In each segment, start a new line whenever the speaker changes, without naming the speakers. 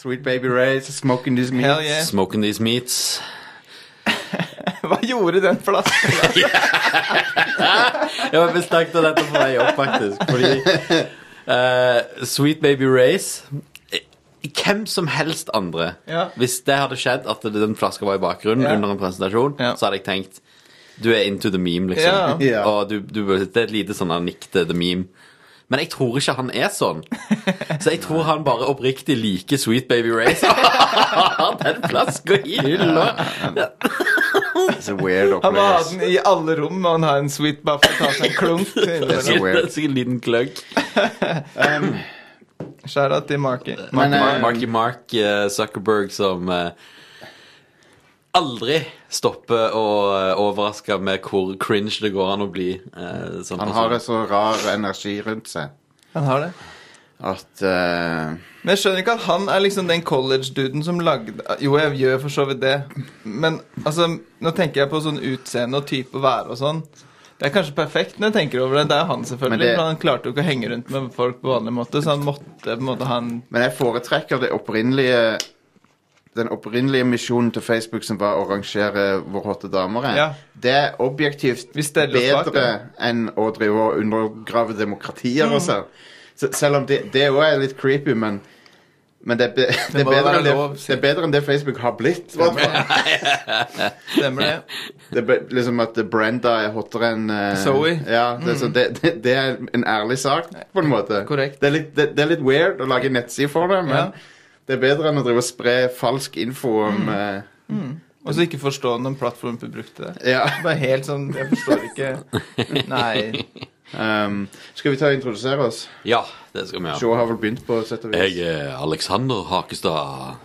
Sweet Baby Ray, Smoking These Meats.
Hell yeah.
Smoking these meats.
Hva gjorde den flasken?
Jeg var bestemt av dette på vei opp, faktisk. Fordi eh, Sweet Baby Race eh, Hvem som helst andre.
Ja.
Hvis det hadde skjedd, at det- den flaska var i bakgrunnen
Ja.
under en presentasjon,
Ja.
så hadde jeg tenkt Du er into the meme, liksom.
Ja. Ja.
Og du, du, det er et lite sånn han nikte the meme. Men jeg tror ikke han er sånn. Så jeg tror han bare oppriktig liker Sweet Baby Race. den flaska i hylla.
It's a weird
Han må ha den
opplegg.
i alle rom, og han har en sweet buff og tar seg en klunk.
så weird.
Sikkert en liten kløgg.
Skjæra til Marky.
Men,
Mark,
eh,
Marky Mark eh, Zuckerberg som eh, aldri stopper å eh, overraske med hvor cringe det går an å bli. eh, som
Han
person.
har en så rar energi rundt seg
Han har det.
at eh,
Men jeg skjønner ikke at han er liksom den college-duden som lagde Jo, jeg gjør for så vidt det, men altså Nå tenker jeg på sånn utseende og type og være og sånn. Det er kanskje perfekt når jeg tenker over det. Det er jo han, selvfølgelig.
Men det-
For han klarte jo ikke å henge rundt med folk på vanlig måte, så han måtte på en måte ha en
Men jeg foretrekker det opprinnelige den opprinnelige misjonen til Facebook som var å rangere hvor hotte damer er,
Ja.
det er objektivt
Vi steller oss bak
bedre enn å drive og undergrave demokratier
Mm.
og sånn. Så selv om det, det også er litt creepy, men, men det, er be, det, er
må
bedre
være
enn det,
lov, sier
det er bedre enn det Facebook har blitt. hvertfall.
Stemmer det?
Det er be, liksom at Brenda er hottere enn eh,
Zoe. Mm.
Ja, det, så det, det, det er en ærlig sak, på en måte.
Korrekt.
Det er litt, det, det er litt weird å lage nettside for det, men
Ja. Mm.
det er bedre enn å drive og spre falsk info om eh,
Og så ikke forstå noen plattform for brukte det.
Ja.
Bare helt sånn Jeg forstår ikke Nei.
Um, skal vi ta og introdusere oss?
Ja, det skal vi gjøre.
Shaw har vel begynt på sett og vis.
Jeg er Alexander Hakestad.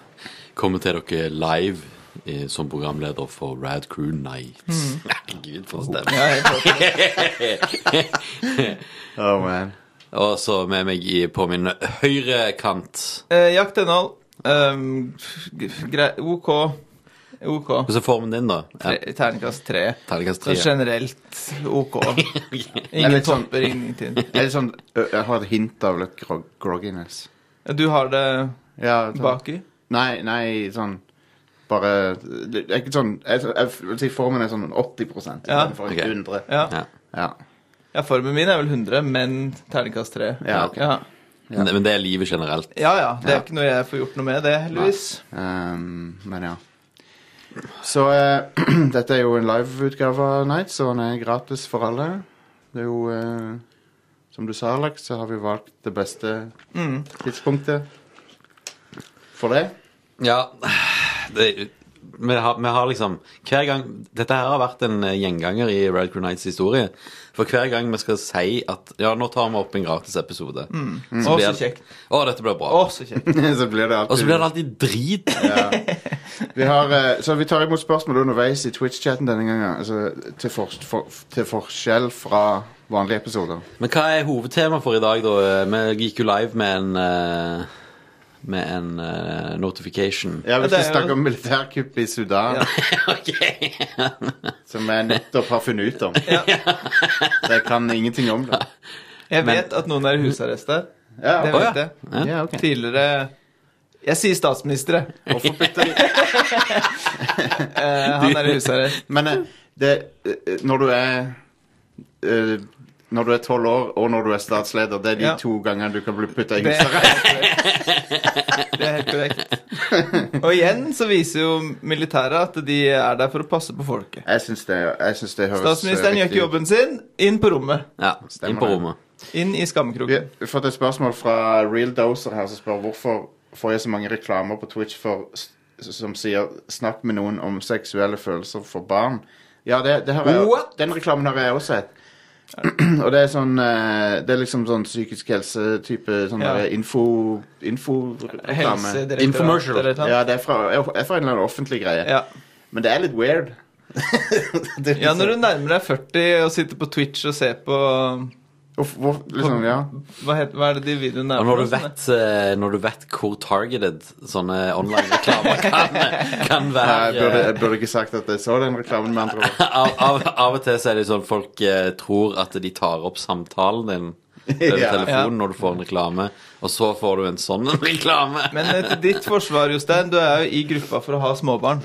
Kommer til dere live eh, som programleder for Rad Crew Nights. Herregud, for en stemme.
Ja, helt klart.
Oh, man.
Og så med meg i, på min høyre kant
Eh, jakt innhold. Um, grei- OK. OK.
Hvordan er formen din, da? Ja,
Tre, terningkast tre.
Terningkast
Så
tre.
generelt OK.
Jeg
Ingen
vet sånn-
topper, ingenting.
Jeg, er litt sånn, ø, jeg har et hint av litt grog grogginess.
Du har det
Ja, sånn-
baki?
Nei, nei, sånn bare det er ikke sånn, jeg, jeg vil si Formen er sånn 80
Ja.
istedenfor
Ok.
100.
Ja.
Ja.
Ja.
ja. Formen min er vel 100, men terningkast tre.
Ja, ok.
ja.
Men men det er livet generelt.
Ja ja, det er
Ja.
ikke noe jeg får gjort noe med, det, heldigvis.
Um, men ja. Så eh, dette er jo en liveutgave av Night, så den er gratis for alle. Det er jo eh, Som du sa, Alex, så har vi valgt det beste
Mm.
tidspunktet for det.
Ja det, vi, har, vi har liksom Hver gang Dette her har vært en eh, gjenganger i Red Crew Nights historie. For hver gang vi skal si at Ja, nå tar vi opp en gratis episode.
Mm.
Å,
blir
så
det-
kjekt.
Å, dette blir bra.
Å, så kjekt.
så blir det
Og så
alltid
blir det alltid drit.
vi har, eh, Så vi tar imot spørsmål underveis i Twitch-chatten denne gangen. Altså, til, for, for, til forskjell fra vanlige episoder.
Men hva er hovedtema for i dag, da? Eh, Vi gikk jo live med en eh, Med en eh, notification.
Ja,
Ja,
Vi
det er
skal
jo-
snakke om militærkuppet i Sudan,
ok
som jeg nettopp har funnet ut om.
Ja.
Så jeg kan ingenting om det.
Jeg
Men-
vet at noen er i husarrest der.
Ja,
Det
og-
ja.
vet jeg.
Ja.
ja, ok.
Tidligere Jeg sier statsminister, jeg.
Hvorfor bytter de
Eh, han er i husarrest.
Men eh, det, eh, når du er eh, Når du er tolv år, og når du er statsleder, det er de
Ja.
to gangene du kan bli putta i
Det er
husarrest.
helt korrekt. Det er helt korrekt. Og igjen så viser jo militæret at de er der for å passe på folket.
Jeg syns det, jeg syns det høres eh,
Statsministeren gjør ikke
riktig ut.
jobben sin. Inn på rommet.
Ja, Inn på
det.
rommet.
Inn i
Vi
skammekroken.
har fått et spørsmål fra Real Doser her som spør hvorfor får jeg så mange reklamer på Twitch for, som sier 'snakk med noen om seksuelle følelser for barn'. Ja, det, det har jeg,
What?
den reklamen har jeg også sett. Og det er sånn eh, Det er liksom sånn psykisk helse-type sånn
Ja.
der info inforeklame.
Helsedirektoratet
Infomercial.
eller et eller annet.
Ja, det er fra, er fra en eller annen offentlig greie.
Ja.
Men det er litt weird. Det er
ja, når
liksom-
du nærmer deg 40 og sitter på Twitch og ser på
Hvorfor- hvor, liksom, ja.
Hva, heter, hva er det de videoene er?
Og når
for
du
noe sånt?
vet, eh, når du vet hvor targeted sånne online-reklamer kan, kan være
Jeg burde, jeg burde ikke sagt at jeg så den reklamen, med andre ord.
av, av, av og til så er det sånn folk eh, tror at de tar opp samtalen din over
Ja.
Ja.
telefonen når du får en reklame, og så får du en sånn reklame.
Men eh, til ditt forsvar, Jostein, du er jo i gruppa for å ha småbarn.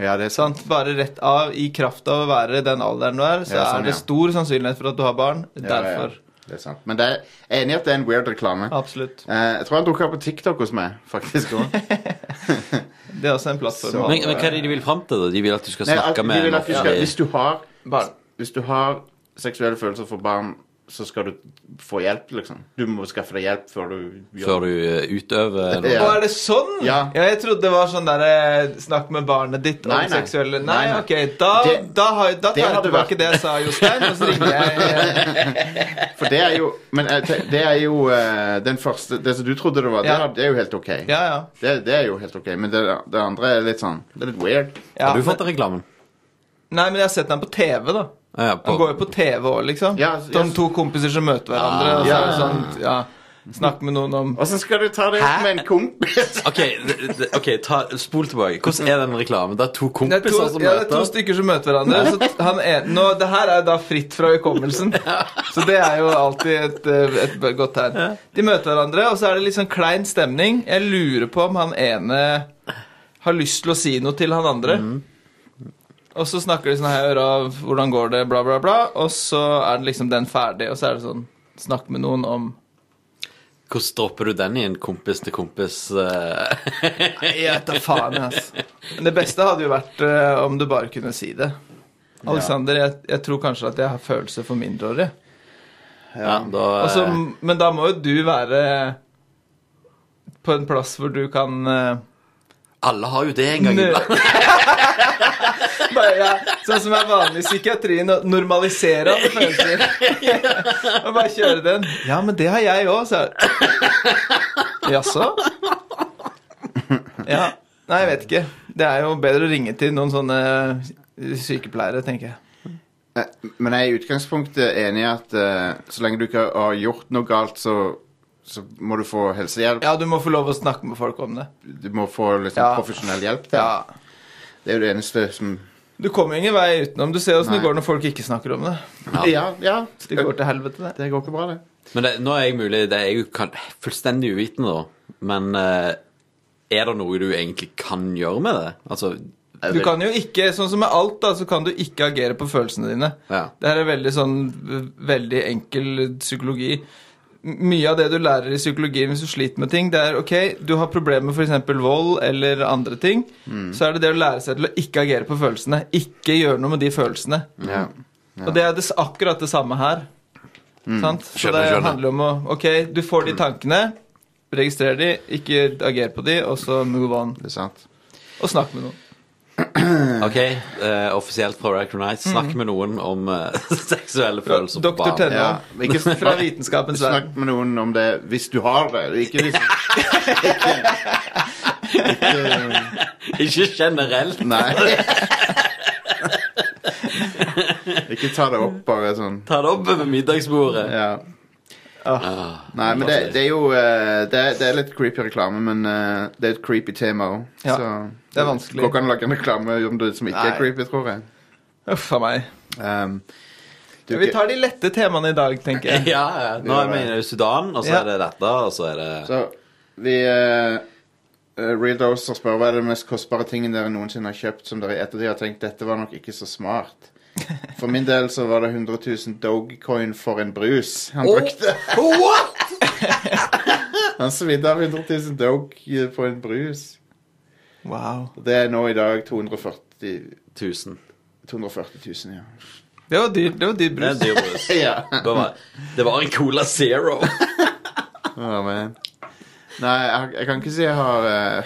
Ja, det er sånn- sant.
Sant? Bare rett av, i kraft av å være den alderen du er, så
Ja, sånn,
er det
ja.
stor sannsynlighet for at du har barn.
Ja, ja,
Derfor.
Ja, det er sant. Men det er, jeg er enig i at det er en weird reklame.
Absolutt.
Eh, jeg tror han dukka på TikTok hos meg, faktisk. også.
Det er også en plattform.
Så-
å ha
Men, men hva er det de vil fram til? da? De vil at du skal
Nei, at
snakke
de
med eh,
vil
en
at du skal,
offentlig
hvis, du har,
barn.
hvis du har seksuelle følelser for barn, så skal du få hjelp, liksom. Du må skaffe deg hjelp før du gjør
før du eh, utøver noe.
Ja.
Å, er det sånn?
Ja.
jeg trodde det var sånn derre Snakk med barnet ditt om
Nei, nei.
seksuelle Nei,
Nei, nei.
ok. Da,
Det-
da, har, da
det
tar jeg
hadde
tilbake
vært-
det jeg sa, Jostein, og så ringer jeg
For det er jo Men jeg te- det er jo eh, den første Det som du trodde det var, det,
Ja.
er- det er jo helt OK.
Ja, ja.
Det, det er jo helt OK, men det, det andre er litt sånn Det er litt weird.
ja
Har du
men-
fått den reklamen?
Nei, men jeg har sett den på TV, da.
Ja, ja,
Han går jo på TV òg, liksom.
Ja,
De
yes. Ah,
to kompiser som møter hverandre. og så er det
Ja.
sånn, ja, Snakk med noen om
Åssen skal du ta det opp
Hæ?
med en kompis?
Ok, det- det- ok, ta, spol tilbake. Hvordan er den reklamen? Det er
det
to
er,
kompiser
to,
som
ja, det er to
møter.
stykker som møter hverandre. Så t- han er, nå, det her er jo da fritt fra hukommelsen. Så det er jo alltid et, eh, et b- godt tegn. De møter hverandre, og så er det litt sånn klein stemning. Jeg lurer på om han ene har lyst til å si noe til han andre.
Mm.
Og så snakker de sånn her av hvordan går det, bla, bla, bla. Og så er det liksom den ferdig, og så er det sånn Snakk med noen om
Hvordan dropper du den i en kompis til kompis? eh,
Jeg vet da faen, ass. Men det beste hadde jo vært eh, om du bare kunne si det. Alexander, jeg, jeg tror kanskje at jeg har følelser for mindreårige.
ja, da, eh,
Altså, men da må jo du være på en plass hvor du kan eh,
alle har jo det en gang
nø-
iblant.
Bare, ja, sånn som er vanlig i psykiatrien, å normalisere alle følelser. Og bare kjøre den. Ja, men det har jeg òg, sa jeg. Jaså? Ja. Nei, jeg vet ikke. Det er jo bedre å ringe til noen sånne eh, sykepleiere, tenker jeg.
Eh, Men jeg er i utgangspunktet enig i at eh, så lenge du ikke har gjort noe galt, så, så må du få helsehjelp.
Ja, du må få lov å snakke med folk om det.
Du må få liksom,
Ja.
profesjonell hjelp. til
Ja.
Det er jo det eneste som
Du kommer ingen vei utenom. Du ser åssen det
Nei.
går når folk ikke snakker om det.
Ja.
Ja, ja.
Det går til helvete, det.
Det går ikke bra, det.
Men det, nå er jeg mulig Det er jeg jo kan, fullstendig uvitende, da. Men eh, er det noe du egentlig kan gjøre med det? Altså
Du kan jo ikke, sånn som med alt, da, så kan du ikke agere på følelsene dine.
Ja.
Det her er veldig sånn v- veldig enkel psykologi. M- Mye av det du lærer i psykologien hvis du sliter med ting, det er ok, du har problemer med f.eks. vold eller andre ting,
Mm.
så er det det å lære seg til å ikke agere på følelsene. Ikke gjøre noe med de følelsene.
Ja. Mm.
Og det er det, s- akkurat det samme her. Sant? Så
Skjønner,
det
skjønner.
handler om å Ok, du får de tankene, registrer de, ikke ager på de, og så move on.
Det er sant.
Og snakk med noen.
OK, eh, offisielt fra Racker Nights, snakk med noen om eh, seksuelle følelser på
Doktor
barn.
Tenne.
Ja, men ikke snakk-
Fra vitenskapens verden.
Snakk med noen om det hvis du har det. Ikke hvis
Ikke generelt.
Nei. ikke ta det opp, bare sånn.
Ta det opp over middagsbordet.
Ja.
Ah,
Nei, men det, det er jo eh, det er, det er litt creepy reklame, men eh, det er et creepy tema òg.
Ja,
Så
det er vanskelig.
Går ikke an å lage en reklame om det som ikke
Nei.
er creepy, tror jeg.
Uff a meg.
Um, du,
Vi tar de lette temaene i dag, tenker jeg.
Ja, ja. Nå er vi i Sudan, og så
Ja.
er det dette, og så er det
Så vi eh, eh, Real Doser spør hva er den mest kostbare tingen dere noensinne har kjøpt som dere i ettertid har tenkt dette var nok ikke så smart. For min del så var det 100 000 dogecoin for en brus han brukte.
What?!
Han svidde av 100 000 doge på en brus.
Wow.
Og det er nå i dag 240
Tusen.
240 000, ja.
Det var dyr, det var dyr
Det er
brus.
en dyr brus.
ja.
Det var- Det var en Cola Zero.
Å, men. Nei, jeg, jeg kan ikke si jeg har eh,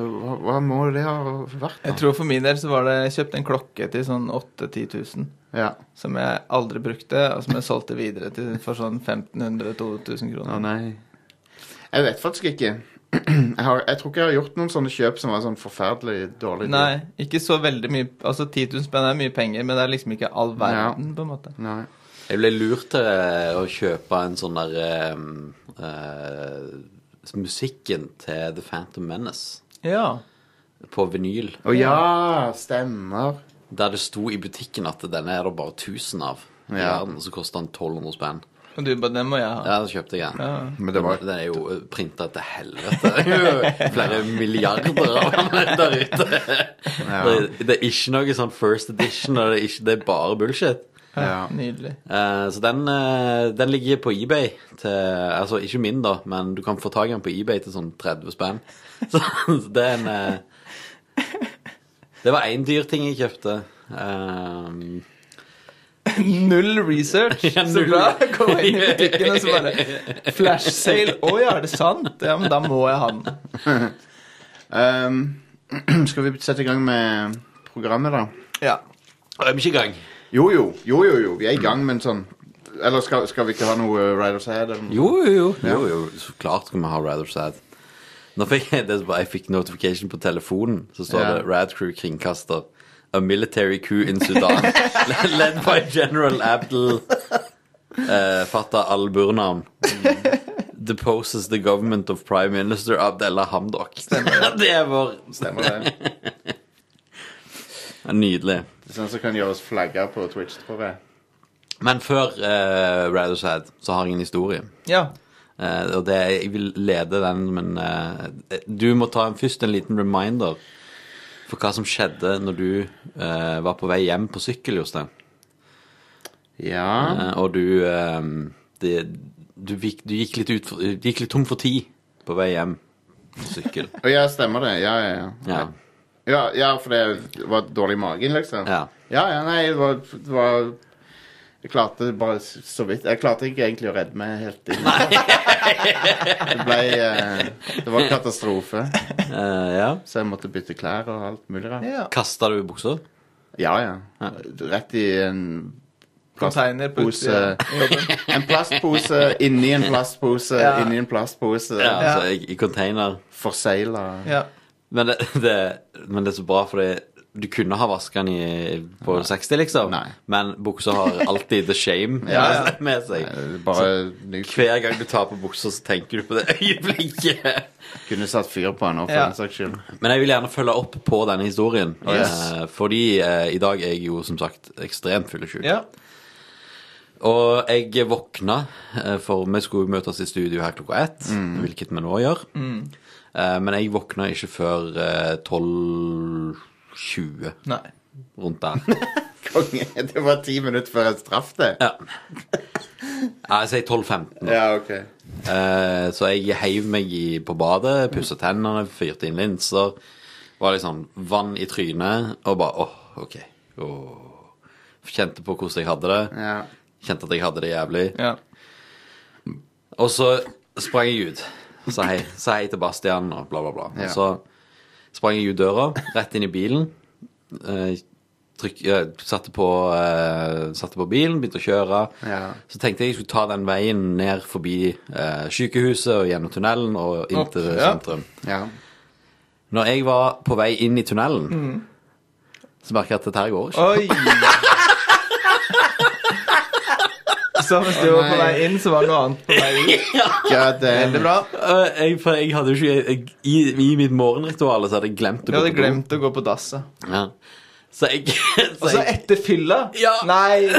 hva, hva må det ha vært?
Jeg tror for min del så var det jeg kjøpte en klokke til sånn 8 000-10 000.
Ja.
Som jeg aldri brukte, og som jeg solgte videre til for sånn 1500-2000
Å
kroner.
nei. Jeg vet faktisk ikke. Jeg, har, jeg tror ikke jeg har gjort noen sånne kjøp som var sånn forferdelig dårlige.
Nei, ikke så veldig mye Altså 10 000 spenn er mye penger, men det er liksom ikke all verden, på en måte.
Nei.
Jeg ble lurt til eh, å kjøpe en sånn der ehm, eh, Musikken til The Phantom Menace
Ja.
på vinyl.
Å ja, stemmer.
Der det sto i butikken at denne er det bare 1000 av i
Ja.
verden, og så kosta den 1200 spenn.
Og du bare, den må jeg ha.
Ja, det kjøpte jeg. Ja.
Men det var-
Den er jo printa til helvete. Flere milliarder av den der ute. Det, det er ikke noe sånn first edition, og det er, ikke, det er bare bullshit.
Ja.
Nydelig.
Eh, så den, eh, den ligger på eBay til Altså ikke min, da, men du kan få tak i den på eBay til sånn 30 spenn. Så, så det er en eh, Det var én dyr ting jeg kjøpte. Um,
Null research.
Ja,
Så
null.
bra. Kom inn i butikken og så bare Flash sale. Å ja, er det sant? Ja, men da må jeg ha den.
Ehm, skal vi sette i gang med programmet, da?
Ja.
er vi ikke i gang?
Jo, jo. Jo, jo, jo. Vi er i gang, men sånn Eller skal, skal vi ikke ha noe eh, Riders Head? Eller noe?
Jo, jo, jo. jo, jo. Så klart skal vi ha Rather Sad. Nå fikk jeg, det er bare, jeg fikk notification på telefonen, så står
Ja.
det Rad Crew kringkaster. A military coup in Sudan. Led by general Abdel eh, Fattah al-Burnam. Deposes the government of prime minister Abdullah Hamdok. det var
Stemmer det?
nydelig.
Det er sånn som kan gjøre oss flagge på Twitch, tror jeg.
Men før eh, Rather Sad så har jeg en historie.
ja.
Eh, og det, jeg vil lede den, men eh, du må ta en, først en liten reminder for hva som skjedde når du eh, var på vei hjem på sykkel, Jostein.
Ja.
Eh, og du, eh, det, du, gikk, du gikk, litt ut, for- du gikk litt tom for tid på vei hjem på sykkel.
Å ja, stemmer det. Ja, ja, ja.
Ja.
Ja, ja for det var dårlig i magen, liksom?
Ja.
ja, ja, nei, det var, det var Jeg klarte bare s- så vidt Jeg klarte ikke egentlig å redde meg helt inn. det ble eh, Det var katastrofe.
Uh, ja.
Så jeg måtte bytte klær og alt mulig rart.
ja.
Kasta du buksa?
Ja, ja. Rett i en
Container på utsida.
En plastpose inni en plastpose
Ja.
inni en plastpose.
Ja,
Ja.
altså, i, i container.
Forsegla.
Ja.
Men det, det, men det er så bra, for det, du kunne ha vaska den i, på 60, liksom.
Nei.
Men buksa har alltid the shame
Ja,
ja.
med seg.
Eh, Bare ny
Hver gang du tar på buksa, så tenker du på det øyeblikket.
Kunne satt fyr på den òg, for
Ja.
den saks skyld.
Men jeg vil gjerne følge opp på denne historien.
Yes.
eh, Fordi eh, i dag er jeg jo som sagt ekstremt fyllesyk.
ja.
Og jeg våkna, eh, for vi skulle møtes i studio her klokka ett, hvilket vi nå gjør. Eh, Men jeg våkna ikke før eh, 12.20,
Nei.
rundt der.
Konge. Det var ti minutter før jeg traff det.
Ja. Nei, Jeg sier 12-15.
Ja, ok.
Eh, så jeg heiv meg i, på badet, pussa tennene, fyrte inn linser. Var liksom vann i trynet og bare åh, OK. Åh. Kjente på hvordan jeg hadde det.
Ja.
Kjente at jeg hadde det jævlig.
Ja.
Og så sprang jeg ut. Sa hei, sa hei til Bastian og bla, bla, bla.
Ja.
Og så sprang jeg ut døra, rett inn i bilen. Eh, trykk, eh, satte, på, eh, satte på bilen, begynte å kjøre.
Ja.
Så tenkte jeg jeg skulle ta den veien ned forbi eh, sykehuset og gjennom tunnelen og inn
Opp,
til
ja.
sentrum.
ja.
Når jeg var på vei inn i tunnelen, så merka jeg at dette her går ikke.
Oi! Så hvis du var på vei inn, så var det noe annet på vei ut.
God damn.
Veldig bra.
Eh, jeg, for jeg hadde jo ikke jeg, i, I mitt morgenritual så hadde jeg glemt å
Du
gå
hadde
på do.
glemt å gå på dasset.
Ja. Så jeg, så
Og så
jeg,
etter fylla?
Ja.
Nei!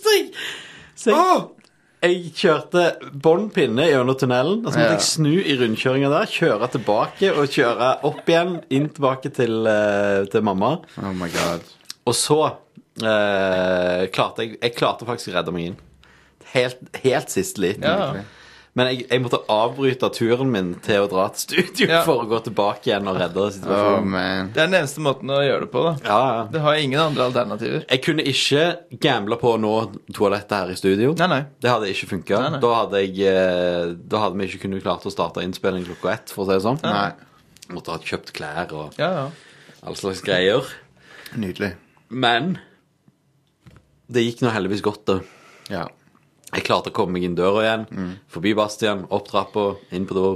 så jeg, så jeg,
Åh!
jeg kjørte bånn pinne gjennom tunnelen, og så måtte
Ja.
jeg snu i rundkjøringa der, kjøre tilbake og kjøre opp igjen, inn tilbake til, eh, til mamma.
Oh my god.
Og så eh, klarte jeg Jeg klarte faktisk å redde meg inn. Helt, helt sist liten.
Ja.
Men jeg, jeg måtte avbryte turen min til å dra til studio
Ja.
for å gå tilbake igjen og redde
Oh
situasjonen.
man.
Det er den eneste måten å gjøre det på, da.
Ja, ja.
Det har ingen andre alternativer.
Jeg kunne ikke gamble på å nå toalettet her i studio.
Nei, nei.
Det hadde ikke funka.
Nei, nei.
Da, hadde jeg, eh, da hadde vi ikke kunnet klart å starte innspilling klokka ett. for å si det sånn.
Nei.
Måtte ha kjøpt klær og
Ja, ja.
all slags greier.
Nydelig.
Men det gikk nå heldigvis godt, da.
Ja.
Jeg klarte å komme meg inn døra igjen.
Mm.
Forbi Bastian, opp trappa, inn på do.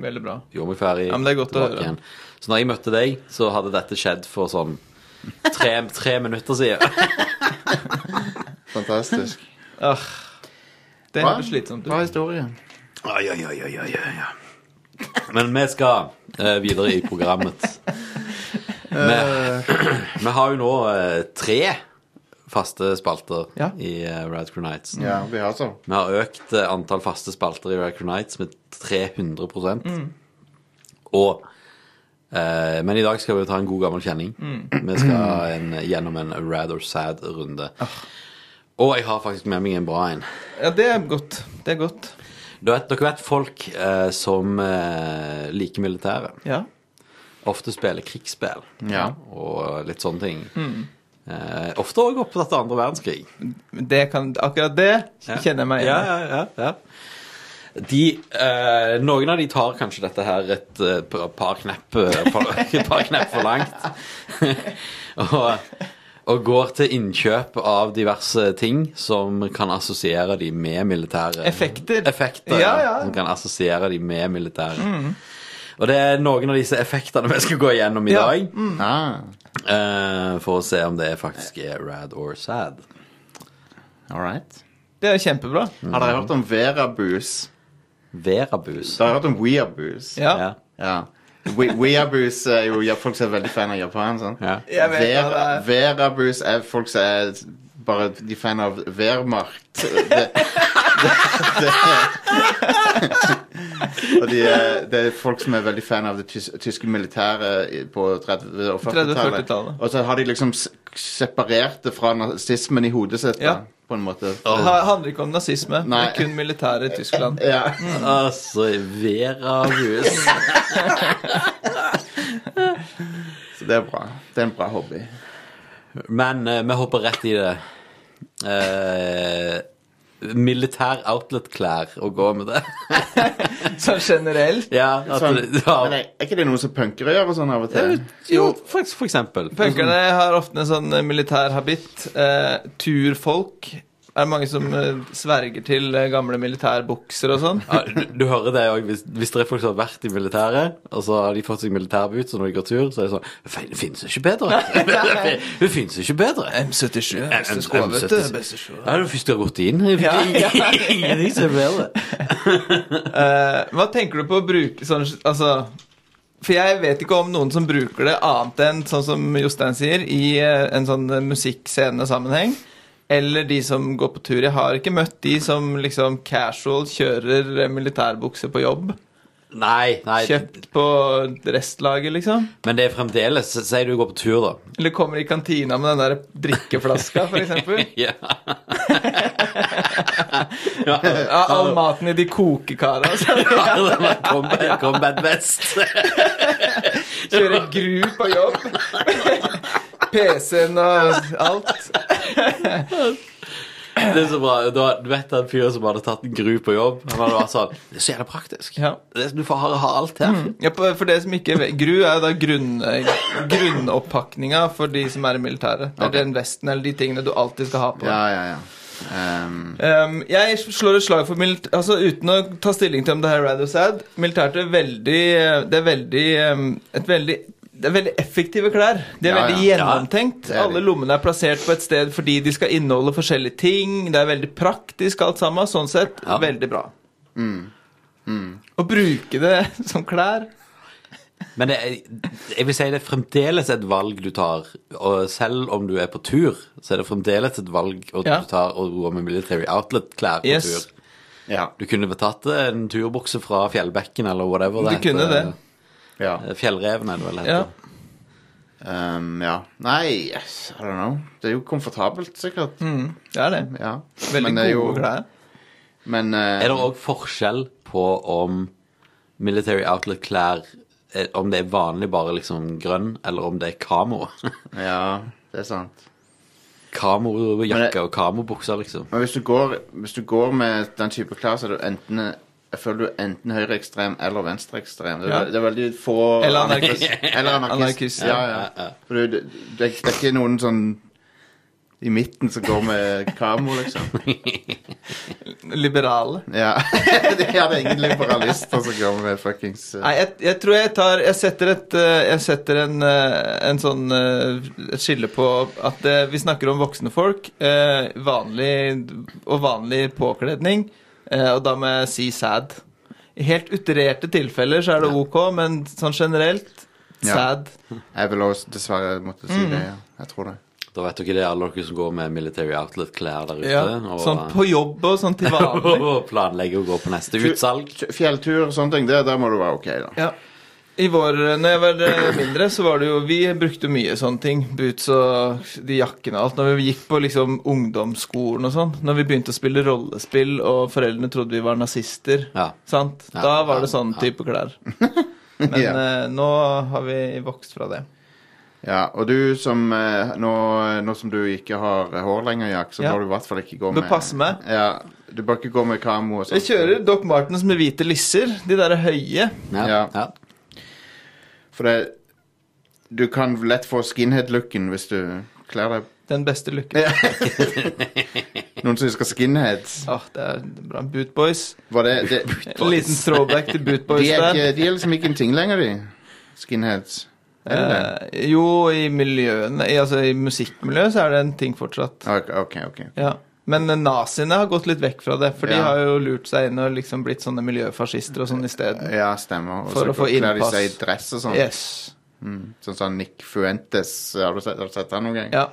Veldig bra.
Gjorde meg ferdig.
Ja, men det er godt å
tilbake
høre.
Så når jeg møtte deg, så hadde dette skjedd for sånn tre, tre minutter siden.
Fantastisk.
Ah, det høres slitsomt
Bra
ut.
historie.
Oi, oi, oi, oi, oi, oi. Men vi skal eh, videre i programmet. Vi, vi har jo nå eh, tre faste spalter
Ja.
i eh, Rad Crew Nights.
Ja, vi har sånn.
Vi har økt eh, antall faste spalter i Rad Crew Nights med 300 Og eh, Men i dag skal vi ta en god gammel kjenning. Vi skal en, gjennom en Rad or Sad-runde. Og jeg har faktisk med meg en bra en.
Ja, det er godt. Det er godt.
Du vet, dere vet folk eh, som eh, liker militæret.
Ja.
Ofte spiller krigsspill
Ja.
og litt sånne ting.
Mm.
Eh, ofte òg opptatt av andre verdenskrig.
Det kan, akkurat det kjenner jeg meg
ja,
igjen i.
ja, ja, ja. De, eh, Noen av de tar kanskje dette her et eh, par- par knepp eh, for, et par knepp for langt. og, og går til innkjøp av diverse ting som kan assosiere de med militæret.
Effekter.
Effekter, ja,
Ja, ja. Mm.
Som kan assosiere de med militæret. Og det er noen av disse effektene vi skal gå gjennom i
Ja.
dag.
Ah,
Eh, for å se om det faktisk er rad or sad.
all right.
Det er kjempebra.
Har dere hørt om Verabus?
Verabus.
Dere har hørt om Weabus?
Ja.
Ja.
Ja. We Weabus er jo ja, folk som er veldig fan av Japan. sånn.
Ja.
Jeg vet hva det er.
Verabus er folk som er bare de fan av Wehrmacht. Det, det, det. Og de er, det er folk som er veldig fan av det tys tyske militæret i- på 30- og 40-tallet.
30-40-tallet.
Og så har de liksom s- separert det fra nazismen i hodet sitt,
Ja.
da, på en måte.
Det ha- handler ikke om nazisme, det
Nei.
er kun militæret i Tyskland.
Ja.
Altså, Verabus.
Så det er bra. Det er en bra hobby.
Men eh, vi hopper rett i det. Eh, militær outlet-klær å gå med det.
Sånn generelt.
ja, at
Sånn,
du- ja.
Men er, er ikke det noe som punkere gjør og sånn av og til?
Jo, for, for eksempel.
Eh, Punkerne har ofte en sånn eh, militær habitt. Eh, turfolk er det mange som eh, sverger til eh, gamle militærbukser og sånn.
Ja, du, du hører det òg. Hvis, hvis det er folk som har vært i militæret, og så har de fått seg militærboot, så når de går tur, så er det sånn «Fin- Det finnes ikke bedre. det finnes ikke bedre.
M77 er
M-
beste sko, vet du.
M77.
Beste sko.
Ja, det er først du har gått inn.
Ja, ja.
Ingenting som er bedre.
Eh, hva tenker du på å bruke sånn Altså For jeg vet ikke om noen som bruker det annet enn, sånn som Jostein sier, i eh, en sånn eh, musikkscenesammenheng. Eller de som går på tur. Jeg har ikke møtt de som liksom casual kjører eh, militærbukse på jobb.
Nei, nei.
Kjøpt på restlaget, liksom.
Men det er fremdeles Si du går på tur, da.
Eller kommer i kantina med den der drikkeflaska, f.eks.
Ja.
Ja, all maten i de altså. kokekara. Så
Combat, combat vest.
kjører gru på jobb. PC-en og alt.
Det er så bra. Da, du vet den fyren som hadde tatt en gru på jobb? Han hadde vært sånn Det er så jævla praktisk.
Ja.
Det- Du får ha, ha alt her.
Mhm. Ja, på- for det som ikke vet, Gru er jo da grunn, eh, grunnoppakninga for de som er i militæret. Det er
Ok.
den vesten eller de tingene du alltid skal ha på.
Ja, ja, ja. Ehm,
Ehm, jeg slår et slag for milit altså Uten å ta stilling til om det her er rad or sad Militæret er veldig eh, Det er veldig, ehm, et veldig det er veldig effektive klær. De er
Ja,
veldig
ja.
gjennomtenkt.
Ja, det er
Alle
de.
lommene er plassert på et sted fordi de skal inneholde forskjellige ting. Det er veldig praktisk alt sammen. Sånn sett
Ja.
veldig bra.
Mm.
Å bruke det som klær
Men det, er- jeg vil si det er fremdeles et valg du tar. Og selv om du er på tur, så er det fremdeles et valg å-
Ja.
du tar å gå med Military Outlet-klær på
Yes.
tur.
ja.
Du kunne tatt en turbukse fra fjellbekken eller whatever
Du kunne det.
ja.
Fjellreven er det vel heter.
Ja.
Ehm, ja. Nei, yes, I don't know. Det er jo komfortabelt, sikkert.
Det er det.
Ja.
Mm. Veldig
men det er
gode
jo,
klær.
Men eh,
Er det òg forskjell på om Military Outlet-klær eh, Om det er vanlig bare liksom grønn, eller om det er kamo?
Ja, det er sant. Men det-
Kamojakke og kamobukser, liksom.
Men hvis du, går, hvis du går med den type klær, så er du enten jeg føler du er enten høyreekstrem eller venstreekstrem. Det, er
Ja.
vel- det er veldig få
Eller anarkist.
Eller anarkist.
Anarkist,
Ja,
ja.
ja. For du, det, det er det er ikke noen sånn i midten som går med kamo, liksom.
Liberale.
Ja. det er det ingen liberalister som går med fuckings eh,
Nei, jeg, jeg tror jeg tar Jeg setter, et, eh, jeg setter en, eh, en sånn eh, et skille på at eh, vi snakker om voksne folk eh, vanlig, og vanlig påkledning, eh, og da må jeg si sad. I helt utererte tilfeller så er det ok, men sånn generelt
Ja.
sad. Mm.
Jeg vil også dessverre måtte si det. Ja. Jeg tror det.
Da vet dere det, alle dere som går med Military Outlet-klær der ute.
Ja,
og, eh,
sånn på jobb og sånn til vanlig.
og planlegger å gå på neste utsalg.
Kj- Fjelltur og sånne ting, det, der må du være ok, da.
Ja. I vår, når jeg var eh, mindre, så var det jo Vi brukte mye sånne ting. Boots og de jakkene og alt. Når vi gikk på liksom ungdomsskolen og sånn. Når vi begynte å spille rollespill, og foreldrene trodde vi var nazister.
Ja.
Sant?
Ja,
Da var
ja,
det sånn
ja.
type klær. Men
Ja.
eh, nå har vi vokst fra det.
Ja, og du som eh, nå, nå som du ikke har hår lenger, Jack, så
Ja.
bør du i hvert fall ikke gå
Bør
med
passe med.
Ja, Du bør ikke gå med kamo og sånt.
Vi kjører Doc Martens med hvite lisser. De derre høye.
Ja, ja.
Ja. For det Du kan lett få skinhead-looken hvis du kler deg
Den beste lykken.
Noen som husker skinheads?
Åh, Ah, det er bra. Boot Boys.
Var det, det
En liten throwback til Boot Boys
de, er
der.
ikke, de er liksom ikke en ting lenger, de. Skinheads. Er det det?
Eh, jo, i miljøene i, Altså i musikkmiljøet så er det en ting fortsatt.
Ok, ok. ok.
Ja. Men eh, naziene har gått litt vekk fra det, for de
Ja.
har jo lurt seg inn og liksom blitt sånne miljøfascister og sånn isteden.
Ja, stemmer. Og
For
så
å få
kler de
innpass.
seg i dress og sånn.
Yes.
Mm. Sånn som Nick Fuentes. Har du sett, har du sett han noen gang?
Ja.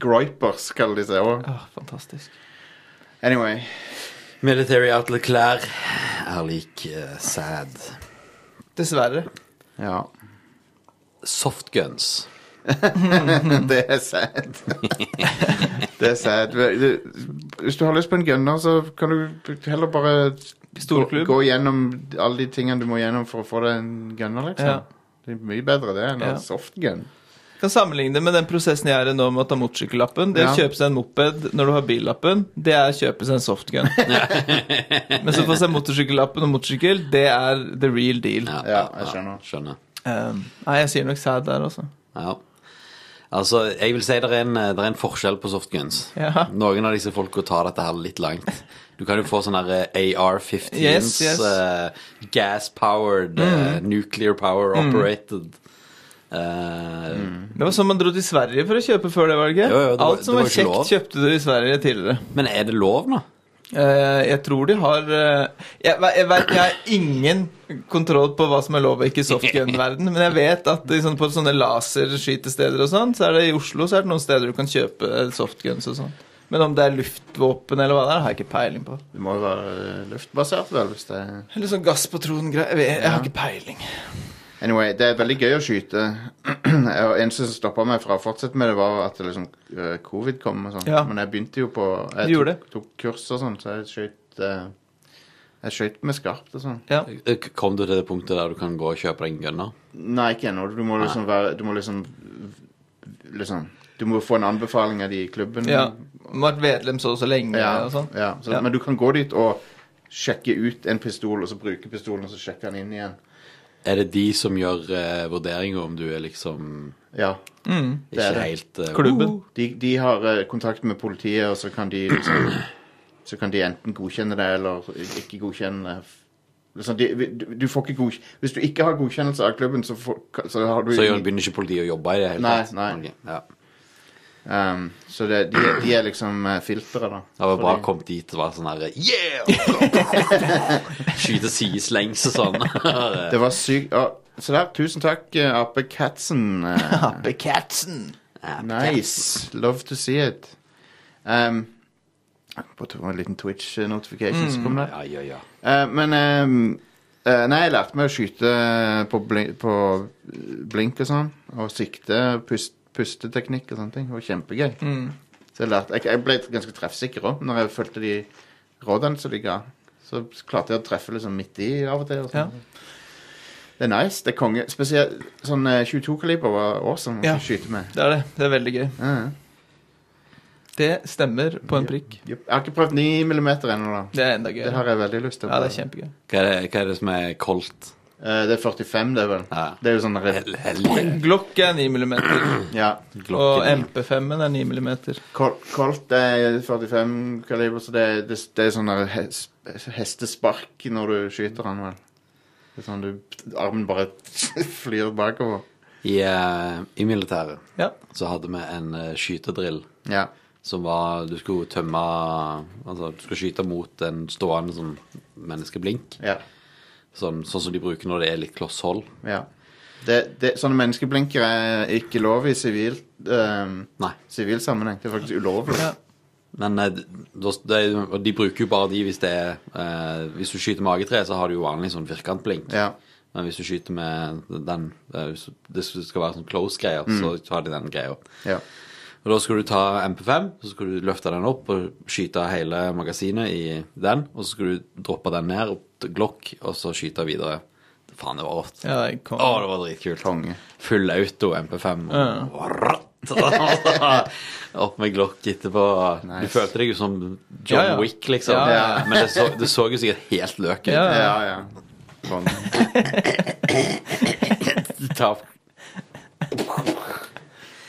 Groipers kaller de seg òg.
Åh, fantastisk.
Anyway.
Military Outlet-klær er lik eh, sad.
Dessverre.
Ja.
Softguns.
Det er sad. det er sad. Hvis du har lyst på en gunner, så kan du heller bare
Pistolklubb.
gå gjennom alle de tingene du må gjennom for å få deg en gunner, liksom.
Ja.
Det er mye bedre det enn
Ja.
en softgun.
Kan sammenligne det med den prosessen jeg er i nå med å ta motorsykkellappen. Det å
Ja.
kjøpe seg en moped når du har billappen, det er å kjøpe seg en softgun. Men så få seg motorsykkellappen og motorsykkel, det er the real deal.
Ja,
Ja, jeg skjønner.
skjønner.
Um, nei, jeg sier nok sad der også.
Ja. Altså, jeg vil si det er en, eh, det er en forskjell på softguns.
Ja.
Noen av disse folka tar dette her litt langt. Du kan jo få sånne her, eh, AR-15s,
Yes, yes. Mm.
eh, gas-powered, eh, nuclear power-operated eh,
Det var sånn man dro til Sverige for å kjøpe før det valget.
Jo, jo, det var-
Alt som
det
var,
var ikke
kjekt,
lov.
kjøpte du i Sverige tidligere.
Men er det lov nå?
Eh, jeg tror de har eh, jeg, ve- jeg, vet, jeg har ingen kontroll på hva som er lov og ikke i softgun-verden, men jeg vet at i sånn- på sånne laserskytesteder og sånn, så er det i Oslo så er det noen steder du kan kjøpe eh, softguns og sånn. Men om det er luftvåpen eller hva det er, har jeg ikke peiling på.
Det må jo være eh, luftbasert, vel, hvis det
Eller sånn gasspatron-greier. Jeg, vet- jeg har ikke peiling.
Anyway, det er veldig gøy å skyte. Og eneste som stoppa meg fra å fortsette med det, var at det liksom, eh, covid kom. og sånn.
Ja.
Men jeg begynte jo på
Du
Jeg
gjorde
tok, tok kurs og sånn, så jeg skøyt eh, Jeg skøyt med skarpt og sånn.
Ja.
Eh, Kom du til det punktet der du kan gå og kjøpe deg en gunner?
Nei, ikke ennå. Du må liksom være Du må liksom Liksom Du må få en anbefaling av de i klubben.
ja. Vært medlem så og så lenge
Ja,
og sånn.
ja. Så,
Ja.
Men du kan gå dit og sjekke ut en pistol, og så bruke pistolen, og så sjekke den inn igjen.
Er det de som gjør eh, vurderinger om du er liksom
Ja.
ikke
Det er det.
helt eh,
Klubben.
De, de har eh, kontakt med politiet, og så kan de liksom Så kan de enten godkjenne det eller ikke godkjenne det. Liksom, de, vi- du, du får ikke godk- Hvis du ikke har godkjennelse av klubben, så, får, så har du
Så gjør- begynner ikke politiet å jobbe i det hele
Nei,
tatt?
nei.
Ok, Ja.
um, Så det, de, de er liksom eh, filteret, da.
Det var bra å
Fordi-
komme dit og være sånn her Yeah! Skyte sideslengs og sånn.
Det var sykt å, Se der. Tusen takk, eh, Ape Katzen. eh,
Ape Katzen.
Nice. Love to see it. Um, på to- en liten Twitch-notification som kom der.
Ja, ja, ja.
Eh, men eh, eh, Nei, jeg lærte meg å skyte på, blink, på blink og sånn. Og sikte, pust, pusteteknikk og sånne ting. Det var kjempegøy.
Mm,
Så jeg, lærte, jeg, jeg ble ganske treffsikker òg når jeg fulgte de rådene som de ga. Så klarte jeg å treffe liksom midt i av og til. Og
Ja.
sånn. Det er nice. Det er konge. Spesielt sånn 22-kaliber var awesome
Ja.
å skyte med.
Det er det. Det er veldig gøy.
Ja, ja.
Det stemmer på en prikk.
Jeg har ikke prøvd 9 mm ennå, da.
Det er enda gøy.
Det har jeg veldig lyst til. å
Ja, det er
prøve.
kjempegøy.
Hva er, det, hva er det som er koldt?
Eh, det er 45, det, er vel.
Ja.
Det er jo sånn
Hel- Hellige
Glock er 9 mm,
Ja.
og
klokken.
MP5-en er 9 mm.
Col- Colt er 45 kaliber, så det, det, det er sånn der hes- hestespark når du skyter han, vel. Det er sånn du Armen bare flyr bakover.
I, eh, I militæret
Ja.
så hadde vi en eh, skytedrill
Ja.
som var Du skulle tømme Altså, du skulle skyte mot en stående sånn menneskeblink.
Ja.
Sånn, sånn som de bruker når det er litt kloss hold.
ja. Det, det, sånne menneskeblinkere er ikke lov i sivil ehm,
Nei.
sivil sammenheng. Det er faktisk ulovlig.
Ja.
Men eh, da- de, og de bruker jo bare de hvis det er eh, Hvis du skyter magetre, så har du jo vanlig sånn firkantblink.
Ja.
Men hvis du skyter med den eh, Hvis det skal være sånn close-greier, så tar de den greia.
ja.
Og da skal du ta MP5, så skal du løfte den opp og skyte hele magasinet i den. Og så skal du droppe den ned, opp til Glock, og så skyte videre. Faen, det var rått.
Ja, det kom.
Å, det var dritkult.
Konge.
Full auto MP5. Og ratt. Opp med Glock etterpå. Du
Nice.
følte deg jo som
Ja,
John
ja.
Wick, liksom.
Ja,
ja.
Men det så, det så jo sikkert helt løk ut.
Ja, ja.
Ja, ja. Konge.
Ta-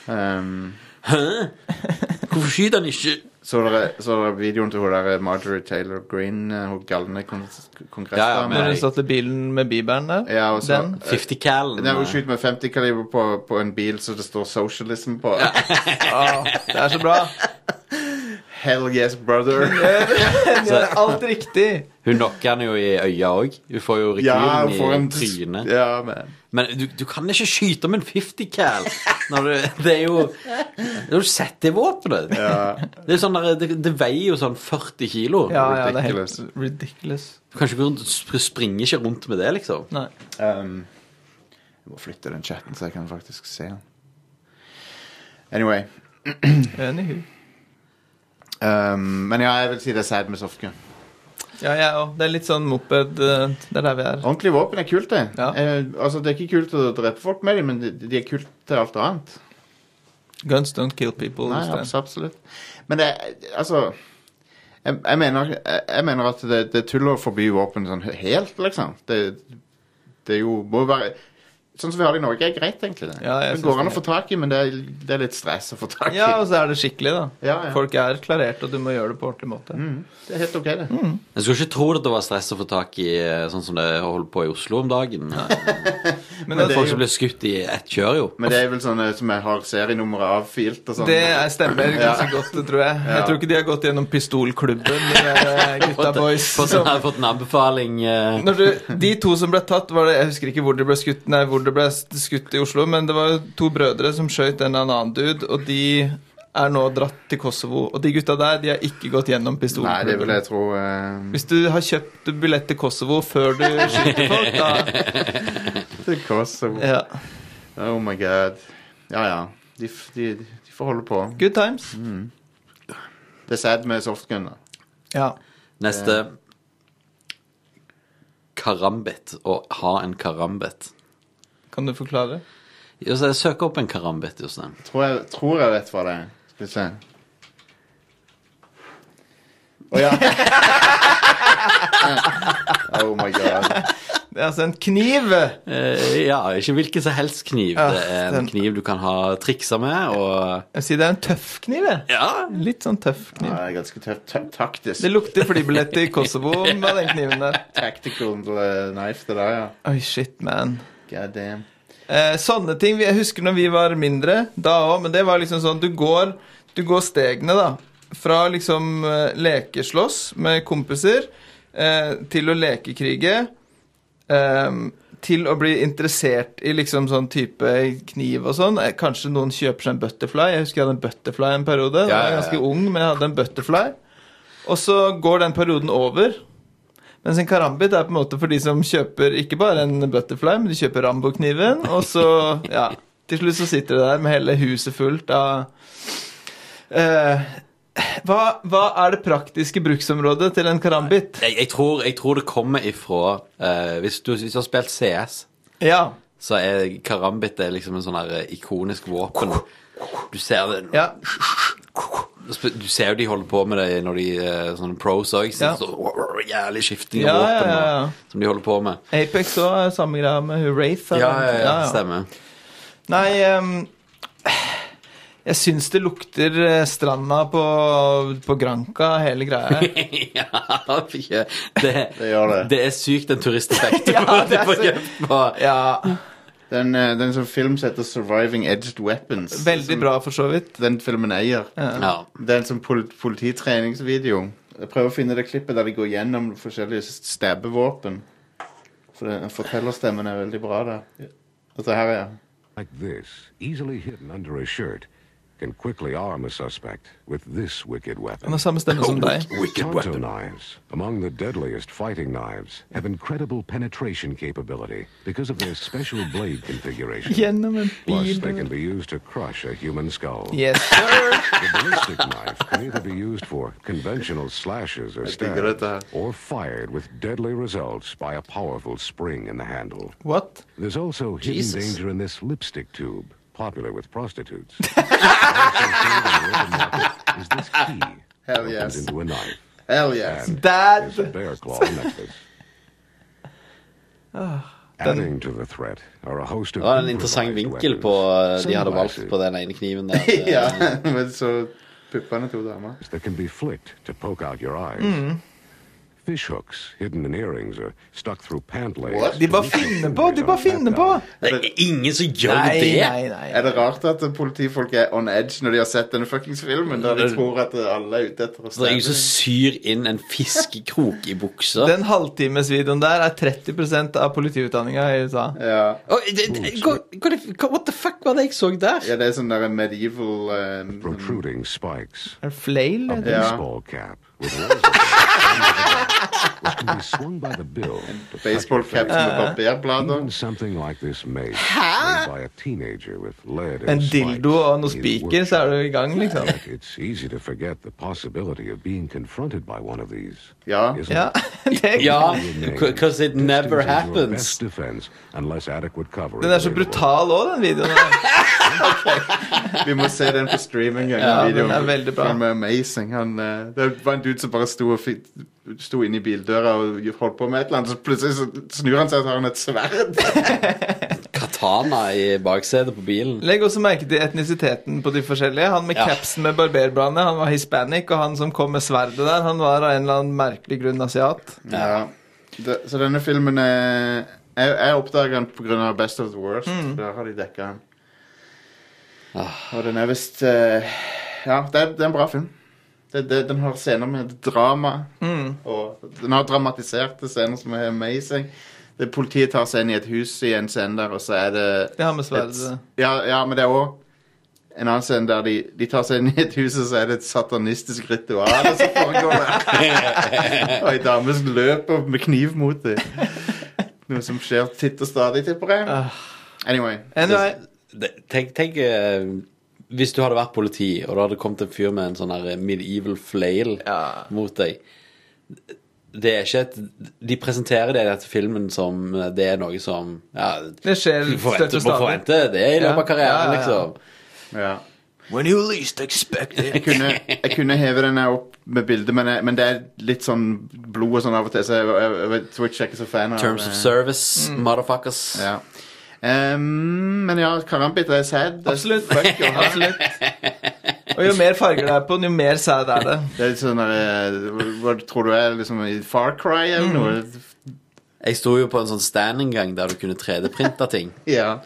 Ehm,
Hvorfor skyter han ikke?
så, dere, så dere videoen til hun der Marjorie Taylor Green, eh, hun galne kon
Ja, ja,
kongressdame?
men-
Når hun satt i bilen med bibelen der.
Ja, og så-
den.
50 cal
Nei, hun skyter med 50 kaliber på, på en bil så det står 'socialism' på.
Å, det er så bra.
Hell yes, brother.
Hun gjør alt riktig.
Hun knocker han jo i øya òg. Hun får jo
Ja,
rekylen
for
i
en
trynet.
Ja, man.
Men du, du kan ikke skyte med en 50 cal. Når du, det er jo Når du setter våpenet
Ja.
det, er sånn der, det, det veier jo sånn 40 kilo.
Ja, ja, det er helt ridiculous.
Du kan ikke gå rundt, du springer ikke rundt med det, liksom.
Nei.
Ehm, jeg må flytte den chatten, så jeg kan faktisk se den. Anyway.
Anywho.
ehm, men ja, jeg vil si det er sad med softgun.
Ja, jeg òg. Det er litt sånn moped eh, Det er der vi er.
Ordentlig våpen er kult, det.
Ja.
Eh, altså, det er ikke kult å drepe folk med dem, men de, de er kult til alt annet.
Guns don't kill people.
Nei,
Jostein.
abs- absolutt. Men det er- altså jeg, jeg, mener, jeg, jeg mener at det, det er tull å forby våpen sånn he- helt, liksom. Det, det er jo må være Sånn som vi har det i Norge, er greit, egentlig. det.
Ja, jeg
det
synes
går an å
det.
få tak i, men det er, det er litt stress å få tak i.
Ja, og så er det skikkelig, da.
Ja, ja.
Folk er klarert, og du må gjøre det på ordentlig måte.
Det er helt OK, det.
Mm.
Jeg skulle ikke tro at det var stress å få tak i eh, sånn som det holder på i Oslo om dagen.
Men
Men
det,
folk som blir skutt i ett kjør, jo.
Men det er vel sånne som jeg har serienummeret avfilt og sånn.
det er stemmer ganske godt, det tror jeg. Jeg tror ikke de har gått gjennom pistolklubben, de der, eh, gutta boys.
Fått
som-
en, fått en anbefaling eh,
Når du, de to som ble tatt, var det, jeg husker ikke hvor de ble skutt Nei, hvor de ble skutt i Oslo, men det var jo to brødre som skjøt en eller annen dude, og de er nå dratt til Kosovo. Og de gutta der, de har ikke gått gjennom
Nei, det
pistolklubben.
vil jeg tro eh,
Hvis du har kjøpt billett til Kosovo før du skyter folk, da
Det er Kosovo.
ja.
Oh my god. Ja, ja. De, f- de, de får holde på.
Good times.
Det er sad med softgun, da.
Ja.
neste. Karambit. Å ha en karambit.
Kan du forklare?
Jo, så jeg Søk opp en karambit, Jostein.
Tror jeg, tror jeg vet hva det er. Skal vi se. Å ja. oh my god.
Det er altså en kniv!
Eh, ja, ikke hvilken som helst kniv.
Ja,
det er en
Ah, den-
kniv du kan ha triksa med, og
Jeg vil si det er en tøff kniv, jeg.
Ja,
En Litt sånn tøff
Ja,
kniv.
det er ganske tøft. Ta- Taktisk.
Det lukter flybilletter i Kosovo med den kniven der.
Tactical eh, knife, det der, ja.
Oi, shit, man.
God damn.
Eh, sånne ting. Jeg husker når vi var mindre, da òg, men det var liksom sånn Du går, du går stegene, da. Fra liksom eh, lekeslåss med kompiser eh, til å lekekrige eh, til å bli interessert i liksom sånn type kniv og sånn. Eh, Kanskje noen kjøper seg en butterfly. Jeg husker jeg hadde en butterfly en periode.
Ja,
Da var
ja,
jeg
ja.
ganske ung, men jeg hadde en butterfly. Og så går den perioden over. Mens en karambit er på en måte for de som kjøper ikke bare en butterfly, men de kjøper Rambo-kniven, og så Ja. Til slutt så sitter du der med hele huset fullt av eh, hva, hva er det praktiske bruksområdet til en karambit?
jeg, jeg, tror, jeg tror det kommer ifra eh, hvis, du, hvis du har spilt CS,
Ja.
så er karambit det er liksom en sånn her eh, ikonisk våpen. Du ser det
ja.
Du ser jo de holder på med det når de eh, sånne pros òg.
Ja.
Jævlig skifting av
Ja, ja,
våpen
ja, ja.
og- som de holder på med.
Apex òg er samme greia med hun Wraith.
Ja,
eller?
ja, ja, stemmer.
Nei ehm, Jeg syns det lukter eh, stranda på, på Granca, hele greia.
ja, fy, det,
Det gjør det.
det er sykt den turisteffekten
Ja,
du
det er
får
så-
kjøpt på.
Ja,
Den, eh, den som film som heter 'Surviving Edged Weapons'.
Veldig bra, for så vidt.
Den filmen eier.
Ja.
Det er en sånn pol polititreningsvideo. Jeg prøver å finne det klippet der de går gjennom forskjellige s- stabbevåpen. For det, fortellerstemmen er veldig bra der. Dette her, ja.
like this, easily hidden under a shirt, can quickly arm a suspect with this wicked
Han
weapon.
har samme
Sånn
stemme som deg.
Tonto knives, among the deadliest fighting knives, have incredible penetration capability because of their special blade configuration.
Gjennom en
Plus, they
bil.
can be used to crush a human skull.
Yes, sir.
The ballistic knife can either be used for conventional slashes or
think I read that.
stabs, or fired with deadly results by a powerful spring in the handle.
What?
There's also
Jesus.
hidden danger in this lipstick tube, popular with prostitutes. Also sold in the open market is this key?
Hell
that
yes.
opens into a knife.
Hell yes.
And
Dad!
this bear claw necklace.
Ah,
Adding to the threat are a host of
Det var en interessant
improvised
vinkel
weapons,
på
uh,
eh, de hadde valgt
sunglasses
på den ene kniven der.
ja, men så puppene to damer.
that can be flicked to poke out your eyes.
Hmm.
Fish hooks hidden in earrings or stuck through pant legs.
What?
De bare finner på! De bare finner på!
Det er ingen som gjør
Nei,
det!
nei, nei.
Er det rart at politifolk er on edge når de har sett denne fuckings filmen, der de
Det-
tror at alle er ute etter å
Det er ingen
stjele?
som syr inn en fiskekrok i buksa.
Den halvtimesvideoen der er 30 av politiutdanninga i USA.
Ja.
Oi, det- det- hva- hva det- hva- What the fuck var det jeg så der?
ja, det er sånn der medieval eh,
Protruding spikes.
Er det flail? heter det?
Ja.
Baseball cap with razor blades, which can be swung by the bill. to cut your
baseballcaps
face.
med barberblader.
Even something like this mace made by a teenager with lead
En
and spikes
dildo og noen
is
spiker, så er du i gang, liksom.
worth- It's easy to forget the possibility of being confronted by one of these.
Ja.
isn't
Ja,
it?
det
Ja,
Remain.
because it never
Distance is your
happens.
best defense unless adequate cover
Den er så
available.
brutal òg, den videoen. Der.
Vi må se den på stream en gang.
Ja,
videoen.
den er veldig bra.
Den er amazing. Han, eh, det var en dude som bare sto, og fit, sto inne i bildøra og holdt på med et eller annet, så plutselig så snur han seg og så har han et sverd.
Katana i baksetet på bilen.
Legg også merke til etnisiteten på de forskjellige. Han med
Ja.
capsen med barberbladene, han var hispanic, og han som kom med sverdet der, han var av en eller annen merkelig grunn asiat.
Ja. Det, så denne filmen eh, Jeg, jeg oppdaga den pga. Best of the Worst. Der har de dekka den. Og den er visst eh, Ja, det, er- det er en bra film. Det, det, den har scener med drama. Og den har dramatiserte scener som er amazing. Det, politiet tar seg inn i et hus i en scene der, og så er det
Det har med
et,
sverdet
ja, ja, men det er òg en annen scene der de, de tar seg inn i et hus, og så er det et satanistisk ritual som foregår der. og ei dame som løper med kniv mot dem. Noe som skjer titt og stadig, tipper jeg. Anyway.
Anyway,
Det- Tenk, tenk eh, hvis du hadde vært politi, og det hadde kommet en fyr med en sånn her medieval flail
Ja.
mot deg. Det er ikke et De presenterer det i dette filmen som eh, det er noe som Ja,
det skjer
du
støtt
forventer,
og
må
stadig.
forvente det i løpet av
Ja.
karrieren,
Ja, ja, ja.
liksom.
Ja.
When you least expect it.
Jeg kunne, jeg kunne heve den her opp med bildet, men, jeg, men det er litt sånn blod og sånn av og til, så jeg, jeg, jeg, Twitch er ikke så fan av
Terms of
eh,
service,
Mm.
motherfuckers.
Ja. Ehm, men ja, Karambit er sad. Det er
Absolutt.
Fuck å ha.
Absolutt. Og jo mer farger det er på den, jo mer sæd er det.
Det er litt sånn eh, Hva tror du er liksom i Far Cry eller noe?
Mm.
Jeg sto jo på en sånn stand en gang der du kunne 3D-printe ting.
Ja.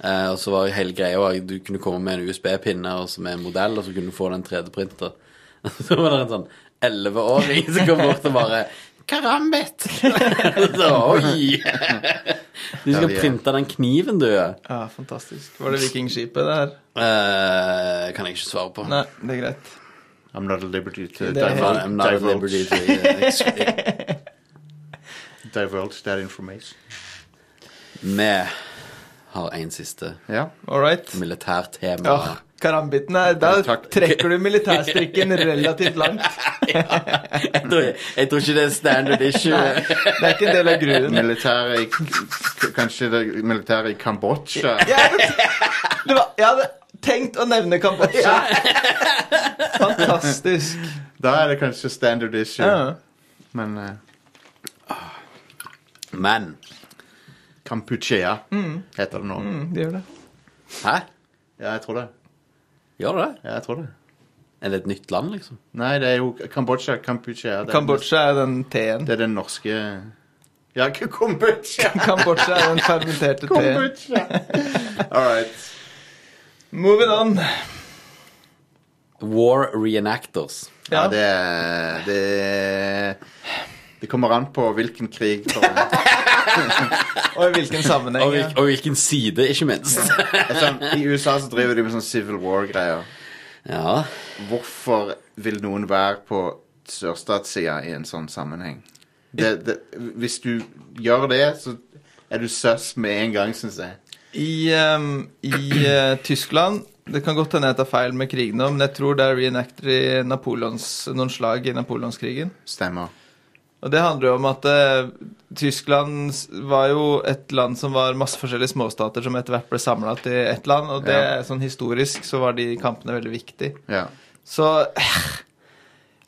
Eh, og så var hele greia at du kunne komme med en USB-pinne og så med en modell, og så kunne du få den 3D-printer. så var det en sånn 11-åring som kom bort og bare Karambit! så, Oi! du skal
Ja, ja.
printe den kniven, du.
Ja, fantastisk. Var det vikingskipet det her?
Eh, kan jeg ikke svare på.
Nei, det er greit.
I'm not at liberty to
Det er
I'm not- I'm not at
divulge,
liberty eh,
divulge,
to ex-
divulge that information.
Vi har en siste
Ja.
All right.
militærtema.
Ja, karambiten er Da
Takk.
trekker du militærstrikken relativt langt.
Jeg, tror, jeg tror ikke det er standard issue.
Det er ikke en del av grunnen.
Militæret i k- Kanskje det militæret i Kambodsja?
Jeg hadde, det var, jeg hadde tenkt å nevne Kambodsja. Fantastisk.
Da er det kanskje standard issue.
Ja.
Men eh,
Men
Kampuchea heter det nå.
Mm, det gjør det.
Hæ?
Ja, jeg tror det.
Gjør det det?
Ja, jeg tror det.
Er det et nytt land, liksom?
Nei, det er jo Kambodsja. Kampuchea. Det er,
Kambodsja er den teen.
Det er den norske Ja, k- Kambodsja!
Kambodsja er den fermenterte teen.
Kambodsja! All right.
Moving on.
War reenactors.
Ja.
Ja, det er- det er- Det kommer an på hvilken krig. tror jeg.
Og i hvilken sammenheng.
Og,
ja.
hvil- og hvilken side, ikke minst.
Sånn, I USA så driver de med sånn Civil War-greier.
Ja.
Hvorfor vil noen være på sørstatssida i en sånn sammenheng? Det, det, hvis du gjør det, så er du søs med en gang, syns jeg.
I, ehm, i eh, Tyskland Det kan godt hende jeg tar feil med krigen, nå, men jeg tror der reenacter i Napoleons, noen slag i napoleonskrigen.
Stemmer.
Og det handler jo om at eh, Tyskland s- var jo et land som var masse forskjellige småstater som etter hvert ble samla til ett land, og det
Ja.
er sånn historisk så var de kampene veldig viktige.
Ja.
Så eh,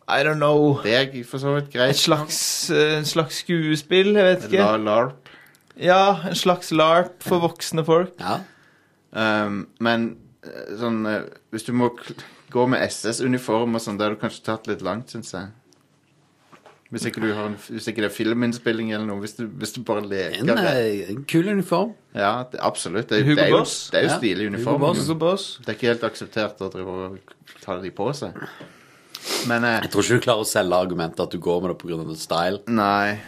I don't know.
Det er for så
Et
vidt greit.
slags, eh, en slags skuespill, jeg vet ikke.
La LARP.
Ja, en slags LARP for voksne folk.
ja.
Um, men eh, sånn eh, Hvis du må kl- gå med SS-uniform og sånn, da har du kanskje tatt litt langt, syns jeg. Hvis ikke, du har en, hvis ikke det er filminnspilling eller noe. Hvis du, hvis du bare leker
En,
det.
eh, en kul uniform.
Ja, det, absolutt. Det, er-
Hugo
det er jo,
Boss?
det er jo
Ja.
stilig
Hugo
uniform.
Boss.
men-
Hugo Boss.
Det er ikke helt akseptert å drive og ta de på seg. Men eh,
Jeg tror ikke du klarer å selge argumentet at du går med det pga. style.
Nei.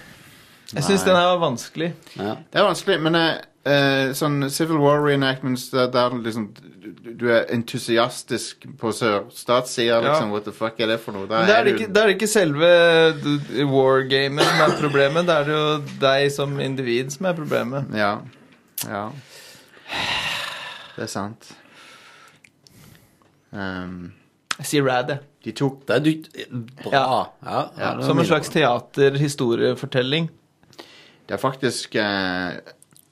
Jeg syns den her var vanskelig.
Ja.
Det er vanskelig, men eh, eh, sånn Civil War reenactments der, der liksom du, du er entusiastisk på sørstatssida, liksom. What the fuck er det for noe? Da
Men Da er det
du-
ikke, da er det ikke selve d- wargamen som er problemet, da er det jo deg som individ som er problemet.
Ja. Ja. Det er sant. Ehm,
Jeg sier rad, jeg.
de tok
Det er du, bra. Ja.
Ja.
ja, det er
Som en
mye
slags
bra.
teaterhistoriefortelling.
Det er faktisk eh,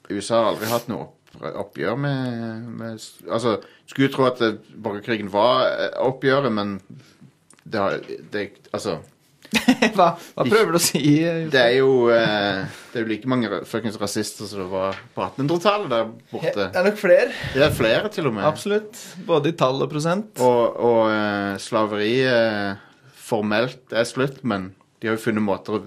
USA har aldri hatt noe opp, oppgjør med, med Altså, skulle jo tro at det, borgerkrigen var eh, oppgjøret, men det har det, Altså,
Hva, hva prøver du å si?
det er jo eh, Det er jo like mange ra- fuckings rasister som det var på 1800-tallet der borte.
Det er nok flere.
Det er flere, til og med.
Absolutt. Både i tall og prosent.
Og, og eh, slaveri eh, formelt er slutt, men de har jo funnet måter å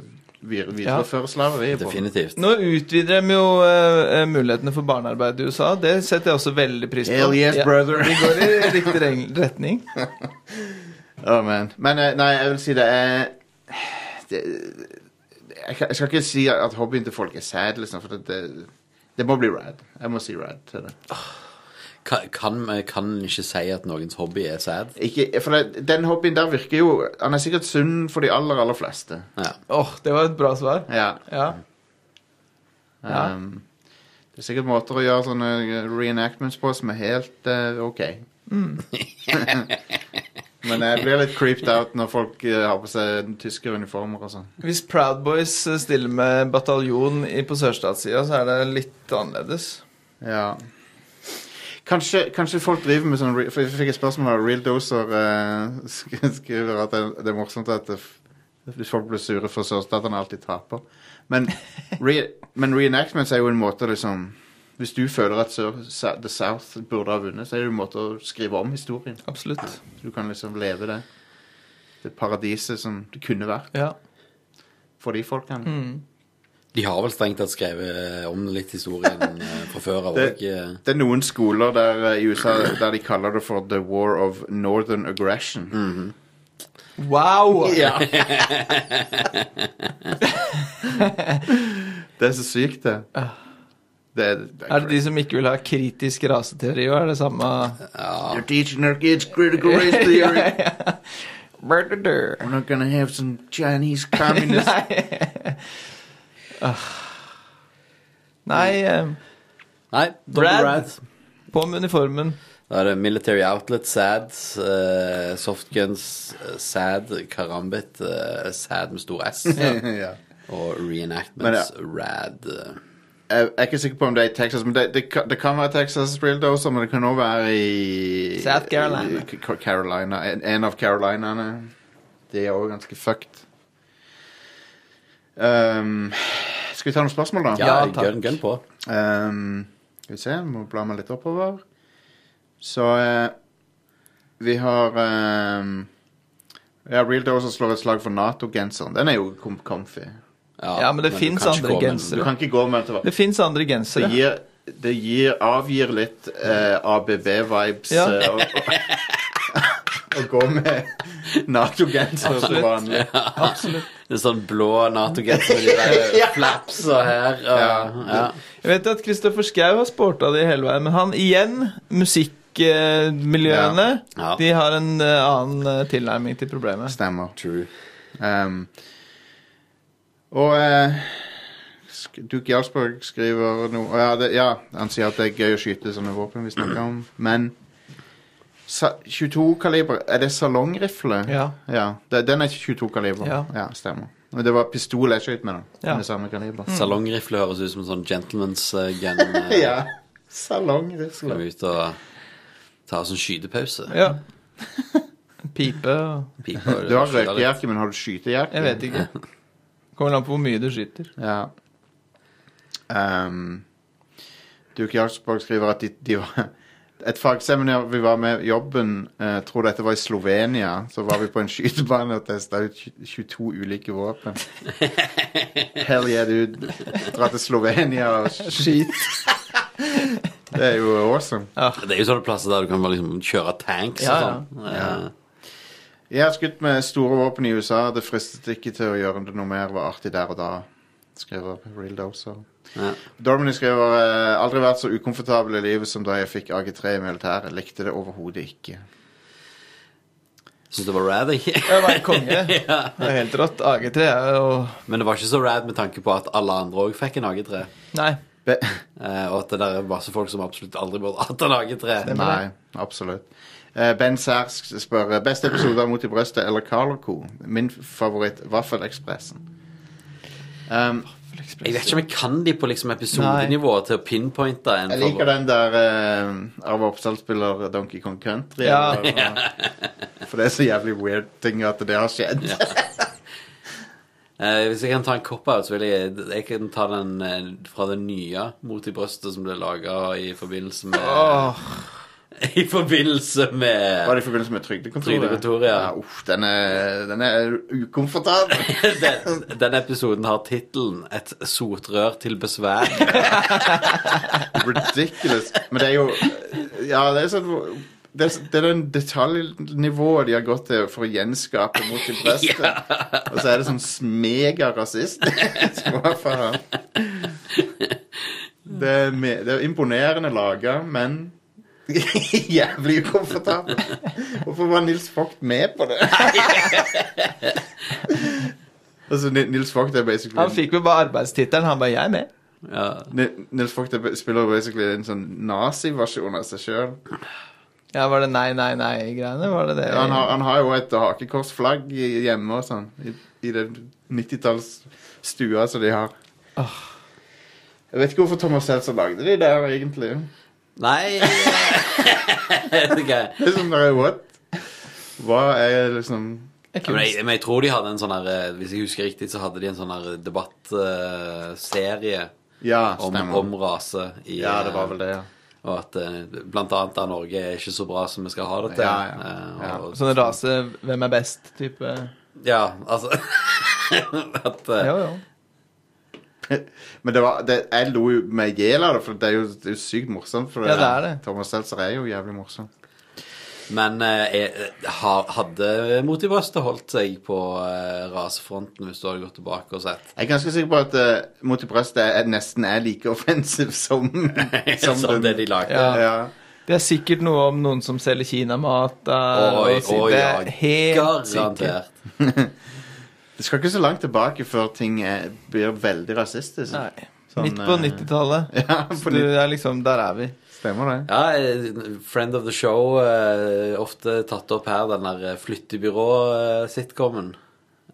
vir- videreføre slaveri på.
Definitivt.
Nå utvider de jo eh, mulighetene for barnearbeid i USA. Det setter jeg også veldig pris på.
Hell yes,
Ja,
brother.
Vi går i riktig reng- retning.
Å, men. Men eh, nei, jeg vil si det er det, jeg, kan- jeg skal ikke si at hobbyen til folk er sad, liksom, for det, det, det må bli rad. Jeg må si rad til det.
Kan, kan, kan ikke si at noens hobby er sad.
Ikke, for det, den hobbyen der virker jo Han er sikkert sunn for de aller, aller fleste.
Ja.
Åh, det var et bra svar.
Ja.
Ja. Ja.
ehm, det er sikkert måter å gjøre sånne eh, reenactments på som er helt eh, OK. Men jeg blir litt creeped out når folk eh, har på seg tyske uniformer og sånn.
Hvis Proud Boys eh, stiller med bataljon i- på sørstatssida, så er det litt annerledes.
Ja. Kanskje, kanskje folk driver med sånn re- For jeg fikk et spørsmål av Real Doser eh, sk- skriver at det, det er morsomt at det, f- hvis folk blir sure for sørstatene alltid taper. Men, re, men reenactments er jo en måte å liksom Hvis du føler at sør, sa- The South burde ha vunnet, så er det jo en måte å skrive om historien.
Absolutt.
Du kan liksom leve det. Det paradiset som det kunne vært
Ja.
for de folkene.
De har vel strengt tatt skrevet om litt historien eh, fra før av
Det-
òg. eh.
Det er noen skoler der eh, i USA der de kaller det for The War of Northern Aggression.
Wow!
Ja. det er så sykt, det. det, er, det
Ah. Er det de som ikke vil ha kritisk raseteori òg? Er det samme
You're teaching our kids critical race theory.
Ja, ja. Murder.
We're not gonna have some Chinese communists.
Ah. Nei, eh,
Nei, Brad.
Brad.
Brad.
på med uniformen.
Da er det Military Outlet, sad, eh, softguns, eh, sad, karambit, eh, sad med stor S,
ja.
og
Men ja.
reenactments, rad. eh.
Jeg er ikke sikker på om det er i Texas, men det, det, kan- det kan være Texas Real Doser, men det kan også være i
South Carolina.
i Ca- Carolina. En, en av Carolinene. Det er også ganske fucked. Um, skal vi ta noen spørsmål, da?
Ja,
Ja, takk.
gønn, gønn på.
Ehm, skal vi se, jeg må bla meg litt oppover. Så eh, vi har ehm, ja, Real Dozer slår et slag for Nato-genseren. Den er jo kom comfy.
Ja, men det
du
finns
kan ikke
andre
gå med-
Du
gensere.
kan ikke gå med den
Det
tilbake.
fins andre
Det
gensere.
gir, det gir, avgir litt eh, ABB-vibes.
Ja.
eh, og- å gå med Nato-genser som vanlig.
En sånn blå Nato-genser med de der eh, flapsa her. Og, ja.
Jeg vet at Kristoffer Schau har sporta det hele veien, men han igjen Musikkmiljøene
Ja. Ja.
De har en eh, annen eh, tilnærming til problemet.
Stemmer. True. Um, og eh, sk Duke Jarlsberg skriver noe ja, det, ja, han sier at det er gøy å skyte sånne våpen vi snakker om, men sa- 22-kaliber, er det salongrifle?
Ja.
det, Den er 22-kaliber.
Ja.
stemmer. Men det var pistol jeg skjøt med, da.
Ja.
Med samme kaliber.
Mm.
Salongrifle høres ut som en sånn gentleman's eh, gun. eh,
Ja. Salongrifle.
Skal vi ut og ta oss en skytepause?
Ja. Pipe og
Pipa,
Du har
skyte litt.
røykejakke, men har du skytejakke?
Jeg vet ikke. Kommer an på hvor mye du skyter.
Ja. Ehm, Duke Jarlsborg skriver at de, de var Et fagseminar vi var med i jobben, eh, tror dette var i Slovenia. Så var vi på en skytebane og testa ut 22 ulike våpen. Hell yeah, dude. Dra til Slovenia og skyt. Det er jo awesome.
Det er jo sånne plasser der du kan bare liksom kjøre tanks
Ja,
og sånn. Eh,
Jeg har skutt med store våpen i USA. Det fristet ikke til å gjøre det noe mer. Det var artig der og da, skriver Real Doser.
Ja.
Dormany skriver eh, aldri vært så ukomfortabel i livet som da jeg fikk AG3 i militæret. Likte det overhodet ikke.
Syns det var rad, ikke?
Det var en konge. Det er helt rått. AG3 er jo
Men det var ikke så rad med tanke på at alle andre òg fikk en AG3.
Nei.
Be
Eh, og at det der er masse folk som absolutt aldri burde hatt en AG3.
Nei, absolutt. Eh, ben Særsk spør eh, beste episode av Mot i brøstet eller Carl Co. Min favoritt Vaffelekspressen. Um,
Jeg vet ikke om jeg kan de på liksom episodenivå til å pinpointe en
jeg liker den der eh, Arve Oppsal spiller Donkey Kong Country.
Ja.
eller hva. For det er så jævlig weird ting at det har skjedd.
Eh, hvis jeg kan ta en cop-out, så vil jeg Jeg kan ta den eh, fra det nye Mot i brøstet som ble laga i forbindelse med
Åh,
I forbindelse
Var
med
det i forbindelse med Trygdekontoret?
Trygdekontoret, ja.
uff, den er, den er ukomfortabel.
den, den episoden har tittelen 'Et sotrør til besvær'.
Ridiculous. Men det er jo Ja, det er sånn det er, det er den detaljnivået de har gått til for å gjenskape mot de preste. Og så er det sånn megarasist. Hva faen? Det er, me- det er imponerende laga, men jævlig ukomfortabel. Hvorfor var Nils Vogt med på det? altså, Ni- Nils Vogt er basically
han fikk vel bare arbeidstittelen. Han bare 'Jeg er med'.
Ja.
Ni- Nils Vogt er ba- spiller basically en sånn naziversjon av seg sjøl.
Ja, Var det nei, nei, nei-greiene? Var det det?
Han, har- han har jo et hakekorsflagg i- hjemme og sånn. I, i den 90-tallsstua som de har. Jeg vet ikke hvorfor Thomas Seltzer lagde de der, egentlig.
Nei okay.
Det er sånn der, what? Hva er liksom
Det er
men,
kunst.
jeg, men jeg tror de hadde en sånn her eh, Hvis jeg husker riktig, så hadde de en sånn her debattserie
Ja,
om,
stemmer.
om rase. I,
ja, det var vel det, ja.
Og at eh, blant annet da Norge er ikke så bra som vi skal ha det til.
Ja, ja.
eh,
Ja.
og-
Sånn rase 'Hvem er best?'-type.
Ja, altså At eh,
Jo, jo.
Men det var, det, jeg lo jo med gjel av det, for det er jo, det er jo sykt morsomt. For
Ja, det er det.
Thomas Seltzer er jo jævlig morsom.
Men eh, jeg, ha- hadde Mot i brøstet holdt seg på eh, rasefronten hvis du hadde gått tilbake og sett?
Jeg er ganske sikker på at eh, mot i brøstet er, nesten er like offensiv som
Som,
den-
det de lagde.
Ja.
Ja.
Det er sikkert noe om noen som selger kinamat der.
Oi,
og si-
oi,
det
ja.
er helt sikkert.
Garantert.
Det skal ikke så langt tilbake før ting eh, blir veldig rasistisk.
Nei.
Sånn,
Midt på
eh,
90-tallet.
Ja,
Så
på
du
nytt.
er liksom Der er vi.
Stemmer det.
Ja, eh, Friend of the Show, eh, ofte tatt opp her, den der eh, flyttebyrå-sitcomen.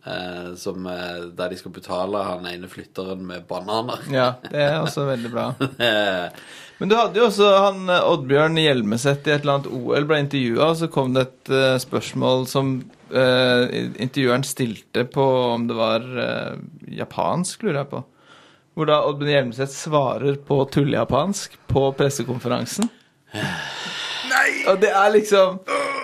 Eh, som, eh, der de skal betale han ene flytteren med bananer.
Ja, det er også veldig bra.
Eh,
Men du hadde jo også han eh, Oddbjørn Hjelmeset i et eller annet OL ble intervjua, og så kom det et eh, spørsmål som eh, intervjueren stilte på om det var eh, japansk, lurer jeg på. Hvor da Oddbjørn Hjelmeset svarer på tullejapansk på pressekonferansen. Nei! Og det er liksom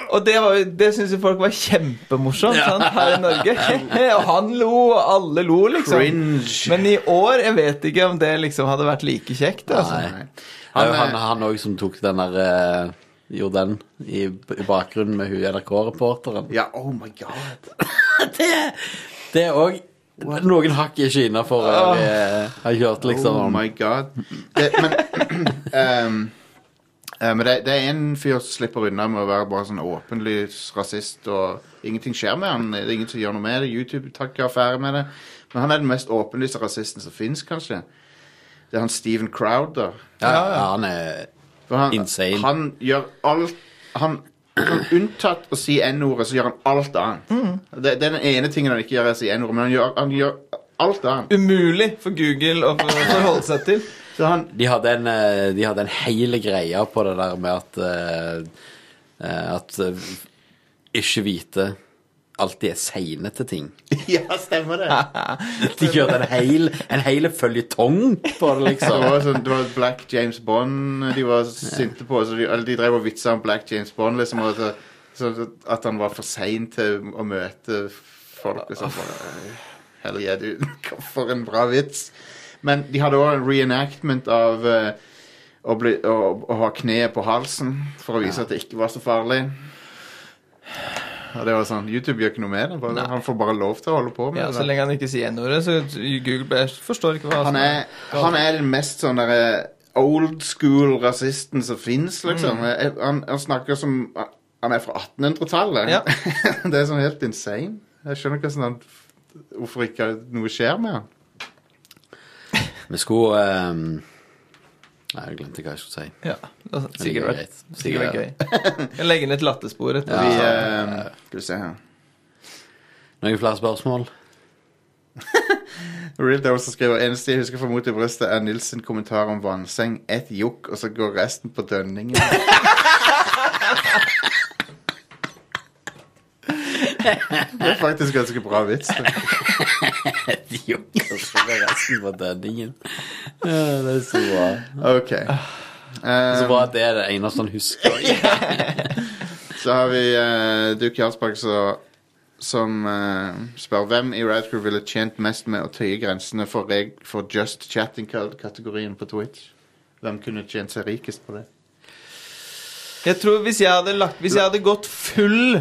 Og det, var jo- det syns jo folk var kjempemorsomt sant, her i Norge. og han lo, og alle lo, liksom.
Cringe.
Men i år, jeg vet ikke om det liksom hadde vært like kjekt. Altså.
nei. Han, han, han også som tok den der eh, gjorde den i, i bakgrunnen med hun NRK-reporteren.
Ja, oh my god.
Det, det er òg noen hakk ikke innafor. Jeg har kjørt liksom
Oh my god. Det, men ehm, eh, men det, det er en fyr som slipper unna med å være bare sånn åpenlys rasist, og ingenting skjer med han. Det er ingen som gjør noe med det. YouTube tar ikke affære med det. Men han er den mest åpenlyse rasisten som fins, kanskje. Det er han Steven Crowder.
ja, ja, han er
For han,
Insane.
han gjør alt han, han Unntatt å si N-ordet, så gjør han alt annet. Det, det er den ene tingen han ikke gjør, er å si N-ordet, men han gjør, han gjør alt annet.
Umulig for Google å for- forholde seg til.
Så han,
De hadde en, eh, de hadde en hele greie på det der med at eh, eh, At eh, ikke hvite alltid er seine til ting.
Ja, stemmer det.
De kjørte en hel, en hel føljetong på det,
Det
altså.
liksom.
var, sånn, det var Black James Bond eh, de var sinte på. Så de, eller de drev og vitsa om Black James Bond. Liksom, og så, så at han var for sein til å møte folk. liksom, Og så bare, Hell yeah, du. For en bra vits. Men de hadde òg en reenactment av eh, å, bli, å, å ha kneet på halsen for å vise at det ikke var så farlig. Og det var sånn, YouTube gjør ikke noe med det. Bare, han får bare lov til å holde på med
Ja,
det.
Så lenge han ikke sier N-ordet, så Google bare forstår ikke hva
Han
som
er, han er den mest sånn derre old school rasisten som fins, liksom. Eh, Han, han snakker som Han er fra 1800-tallet.
Ja.
det er sånn helt insane. Jeg skjønner ikke hvordan han Hvorfor ikke noe skjer med han.
Vi skulle eh, Nei, jeg glemte hva jeg skulle si.
Ja, altså,
Men det er
sikkert vært
greit.
sikkert vært gøy. Jeg legger inn et latterspor etter
Vi,
vi
eh, skal vi se her
Noen flere spørsmål?
Real Dose som skriver eneste jeg husker fra Mot i brystet, er Nils sin kommentar om vannseng. Ett jukk, og så går resten på dønningen. det er faktisk ganske bra vits. Det.
Jo, kanskje det er resten på dønningen. Ja, det er så bra.
Ok.
Så
Ah.
Um,
bra at det er det eneste han husker.
så har vi eh, Duke Jarlsberg så, som eh, spør hvem i Rad Crew ville tjent mest med å tøye grensene for, reg for just chatting-kategorien på Twitch. Hvem kunne tjent seg rikest på det?
Jeg tror hvis jeg hadde lagt Hvis jeg hadde gått full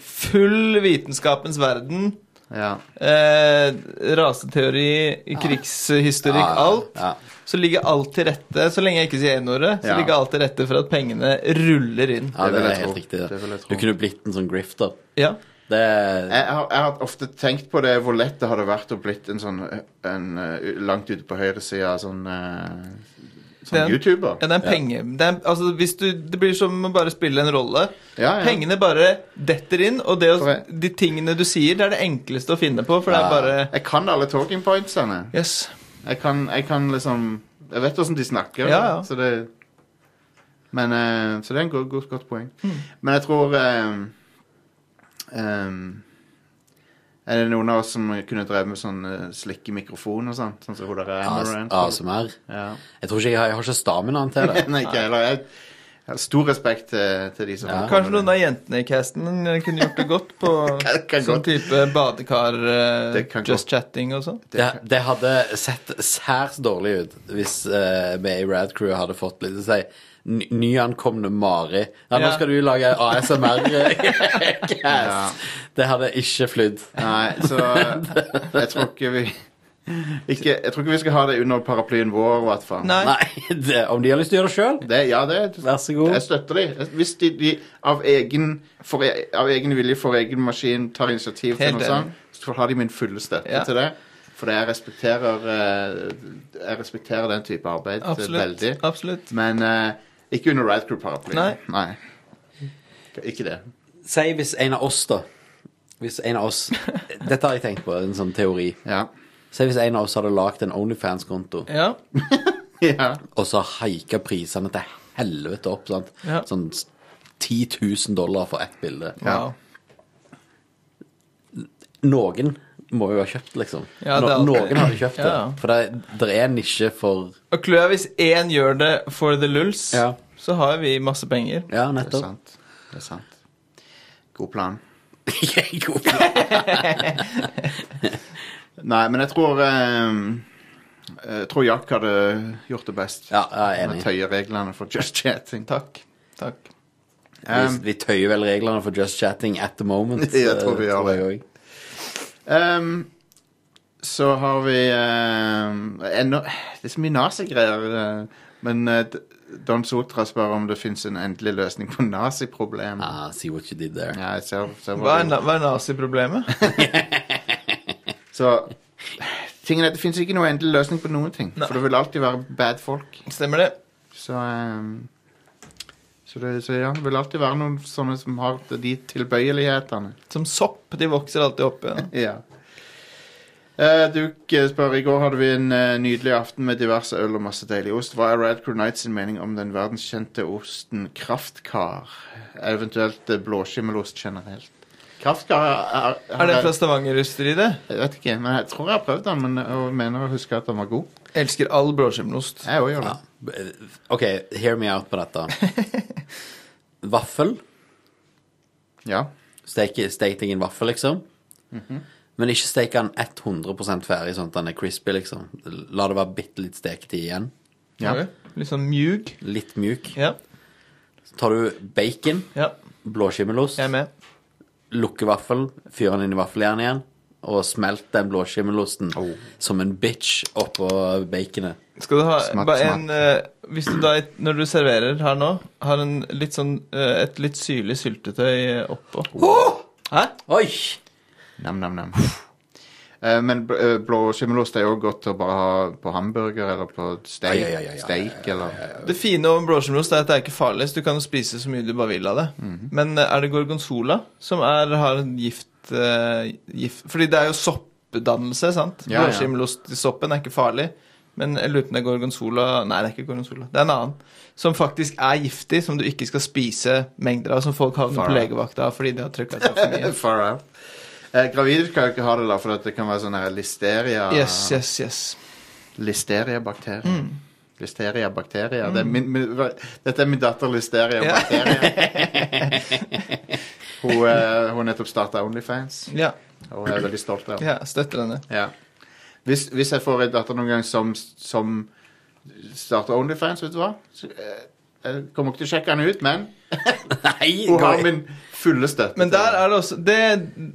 Full vitenskapens verden
Ja.
eh, Raseteori, krigshistorikk,
Ja, ja,
alt
ja.
Så ligger alt til rette Så lenge jeg ikke sier N-ordet Så
Ja.
ligger alt til rette for at pengene ruller inn
Ja,
Det
det
vil
er
jeg
helt
tro.
riktig.
Det vil jeg tro.
Du kunne blitt en sånn grifter.
Ja,
Det er
Jeg har, jeg har ofte tenkt på det, hvor lett det hadde vært å blitt en sånn en, eh, langt ute på høyresida sånn, eh, sånn
Den-
YouTuber.
ja det er en penge det, er, en- altså, hvis du, det blir som å bare spille en rolle
Ja, ja.
Pengene bare detter inn Og det, å-
For jeg-
de tingene du sier Det er det enkleste å finne på For det er bare
Jeg kan alle talking pointsene.
Yes
Jeg kan, jeg kan liksom Jeg vet hvordan de snakker.
Ja, ja.
Så det Men eh, Så det er et godt, godt, godt poeng.
Mm.
Men jeg tror ehm, ehm, Er det noen av oss som kunne drevet med sånn eh, slikke mikrofon og sånn? Sånn som hun der Amber Rand?
ASMR.
Ja.
Jeg tror ikke jeg har, jeg har ikke staminaen til det.
Nei, ikke heller. Jeg, jeg har stor respekt eh, til, til de som
Ja.
Kanskje noen av jentene i casten kunne gjort det godt på
Det kan
sånn
godt.
type badekar, eh,
Det kan
just chatting og sånn.
Det, det hadde sett særs dårlig ut hvis eh, vi i Rad Crew hadde fått litt å si ny- nyankomne Mari. Ja, nå
Ja.
skal du lage ASMR-cast.
Ja.
eh, Det hadde ikke flydd.
Nei, så eh, jeg tror ikke vi ikke, Jeg tror ikke vi skal ha det under paraplyen vår, i hvert fall.
Nei.
Nei, det, om de har lyst til å gjøre det sjøl,
Det, ja, det er
vær så god.
Jeg støtter dem. Hvis de, de av, egen, for, e- av egen vilje for egen maskin tar initiativ til
Helt
noe
enig.
sånt, så har de min fulle støtte
Ja.
til det. For jeg respekterer, eh, jeg respekterer den type arbeid eh,
Absolutt.
veldig.
Absolutt.
Men eh, ikke under Rad Crew-paraplyen.
Nei.
Ikke det.
Si hvis en av oss, da Hvis en av oss Dette har jeg tenkt på, en sånn teori.
Ja.
Si hvis en av oss hadde lagd en Onlyfans-konto,
Ja.
ja.
og så haika prisene til helvete opp. Sant?
Ja.
Sånn 10 000 dollar for ett bilde.
Wow.
Noen må jo ha kjøpt, liksom.
Ja,
No,
det er alltid-
noen hadde kjøpt det.
Ja.
For det, det er en nisje for
Og klør hvis én gjør det for the lulls,
Ja.
så har vi masse penger.
Ja,
Det er
nettopp.
sant. Det er sant. God plan.
God plan.
Nei, men jeg tror eh, Jeg tror Jack hadde gjort det best.
Ja, jeg er
Med
enig.
tøye reglene for just chatting.
Takk. Takk.
Um,
vi, vi tøyer vel reglene for just chatting at the moment.
Ja, jeg tror vi
eh,
gjør det.
jeg også.
Ehm, så har vi ehm, ennå, Det er så mye nazi-greier. eh, men eh, D- Don Sotra spør om det fins en endelig løsning på nazi-problemet.
Ah, see what you did there.
Ja, jeg ser, ser hvor
Hva er,
du-
na- hva er naziproblemet?
Så tingen er, at det fins ikke noen endelig løsning på noen ting.
Nei.
For det vil alltid være bad folk.
Stemmer det?
Så, ehm, så, det, så ja, det vil alltid være noen sånne som har de tilbøyelighetene.
Som sopp. De vokser alltid opp igjen.
Ja. Eh, Duke eh, spør i går hadde vi en eh, nydelig aften med diverse øl og masse deilig ost. Hva er Radcrow Knights sin mening om den verdenskjente osten Kraftkar? Eventuelt eh, blåskimmelost generelt. Kraftkar er, er,
Er det fra Stavanger-rysteri, det?
Jeg vet ikke, men jeg tror jeg har prøvd den, men og mener å huske at den var god.
Elsker all blåskimmelost.
Jeg òg gjør det.
Ja. Eh, OK, hear me out på dette. Vaffel.
Ja.
Steke, stek deg en vaffel, liksom. Men ikke stek den 100 ferdig, sånn at den er crispy, liksom. La det være bitte litt steketid igjen.
ja.
Ok. Litt sånn mjug.
Litt mjuk.
Ja.
Så tar du bacon,
ja.
blåskimmelost,
Jeg er med.
lukker vaffelen, fyrer den inn i vaffeljernet igjen, og smelt den blåskimmelosten som en bitch oppå baconet.
Skal du ha
Smak,
bare
smak.
en eh, Hvis du da, når du serverer her nå, har en litt sånn eh, et litt syrlig syltetøy eh, oppå Hæ?
Oi!
Nam-nam-nam. men bl eh, blåskimmelost er jo godt å bare ha på hamburger eller på steik,
Ja, ja, ja, ja,
steik eller
Det fine om blåskimmelost er at det er ikke farlig. så Du kan jo spise så mye du bare vil av det.
Mhm.
Men eh, er det gorgonzola som er, har en gift, eh, gift Fordi det er jo soppdannelse, sant?
Ja, ja.
Blåskimmelost i soppen er ikke farlig. Men jeg lurer på om det er gorgonzola Nei, det er ikke gorgonzola. Det er en annen. Som faktisk er giftig, som du ikke skal spise mengder av. Som folk havner på
Far out.
legevakta av fordi de har trykka seg for mye.
Far out. Eh, gravide kan jo ikke ha det, da, for at det kan være sånn her listeria
Yes, Mm. yes, yes.
Listeriabakterier. Listeriabakterier. Det er
Mm.
min, min, hva- dette er min datter listeriabakterier. hun eh, hun nettopp starta Onlyfans,
Ja,
og jeg er veldig stolt av det.
ja støtter henne.
Ja. Hvis, hvis jeg får en datter noen gang som, som starter Onlyfans, vet du hva Så, eh, Jeg kommer ikke til å sjekke henne ut, men
Nei!
hun har
nei.
min fulle støtte.
Men der er det også det,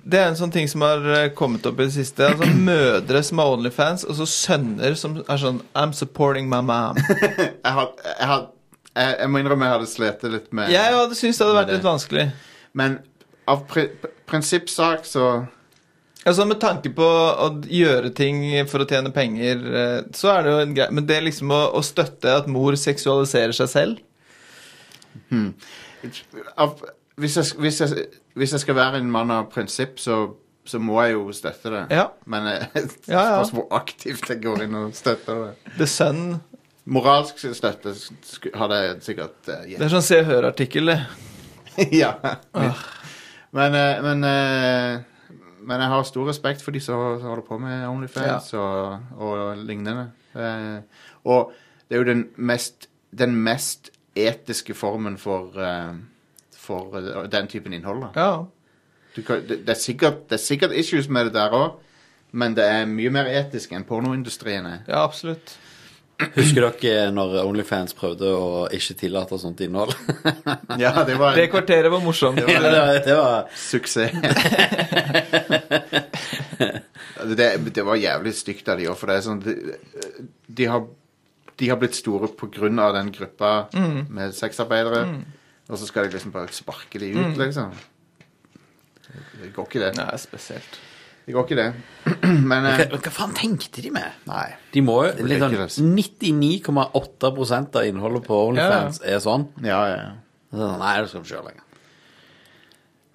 det er en sånn ting som har eh, kommet opp i det siste. Altså Mødre som har Onlyfans, og så sønner som er sånn I'm supporting my mom.
jeg, har, jeg, har, jeg, jeg må innrømme jeg hadde slitt litt med
Jeg hadde syntes det hadde vært
Men det-
litt vanskelig.
Men av pri, pr- prinsippsak så
Altså Med tanke på å gjøre ting for å tjene penger, eh, så er det jo en greie Men det liksom å, å støtte at mor seksualiserer seg selv
av, hvis, jeg, hvis, jeg, hvis jeg skal være en mann av prinsipp, så, så må jeg jo støtte det.
Ja.
Men eh,
Ja, ja.
spørs hvor aktivt jeg går inn og støtter det.
The Sun
Moralsk støtte sk- hadde jeg sikkert eh, gitt.
Det er sånn Se og Hør-artikkel, det.
ja. Ah. Men, eh, men, eh, men jeg har stor respekt for de som som holder på med Onlyfans og, og lignende. Eh, og det er jo den mest, den mest etiske formen for, eh, for eh, den typen innhold. Da.
Ja.
Du kan, det, det, er sikkert, det er sikkert issues med det der òg, men det er mye mer etisk enn pornoindustrien er.
ja, absolutt.
Husker dere når Onlyfans prøvde å ikke tillate sånt innhold?
Ja, det var
Det
en
kvarteret var morsomt.
det, var, det var
suksess. det, det var jævlig stygt av de òg, for det er sånn de, de, har, de har blitt store på grunn av den gruppa med sexarbeidere, og så skal de liksom bare sparke de ut, liksom. Det går ikke, det.
Nei, spesielt.
Det går ikke, det. Men eh,
hva, hva faen tenkte de med?
Nei.
De må jo
blir
litt
ikke
sånn 99,8 av innholdet på Onlyfans er sånn.
Ja, ja, ja.
Så sånn, Nei, det skal du ikke gjøre lenger.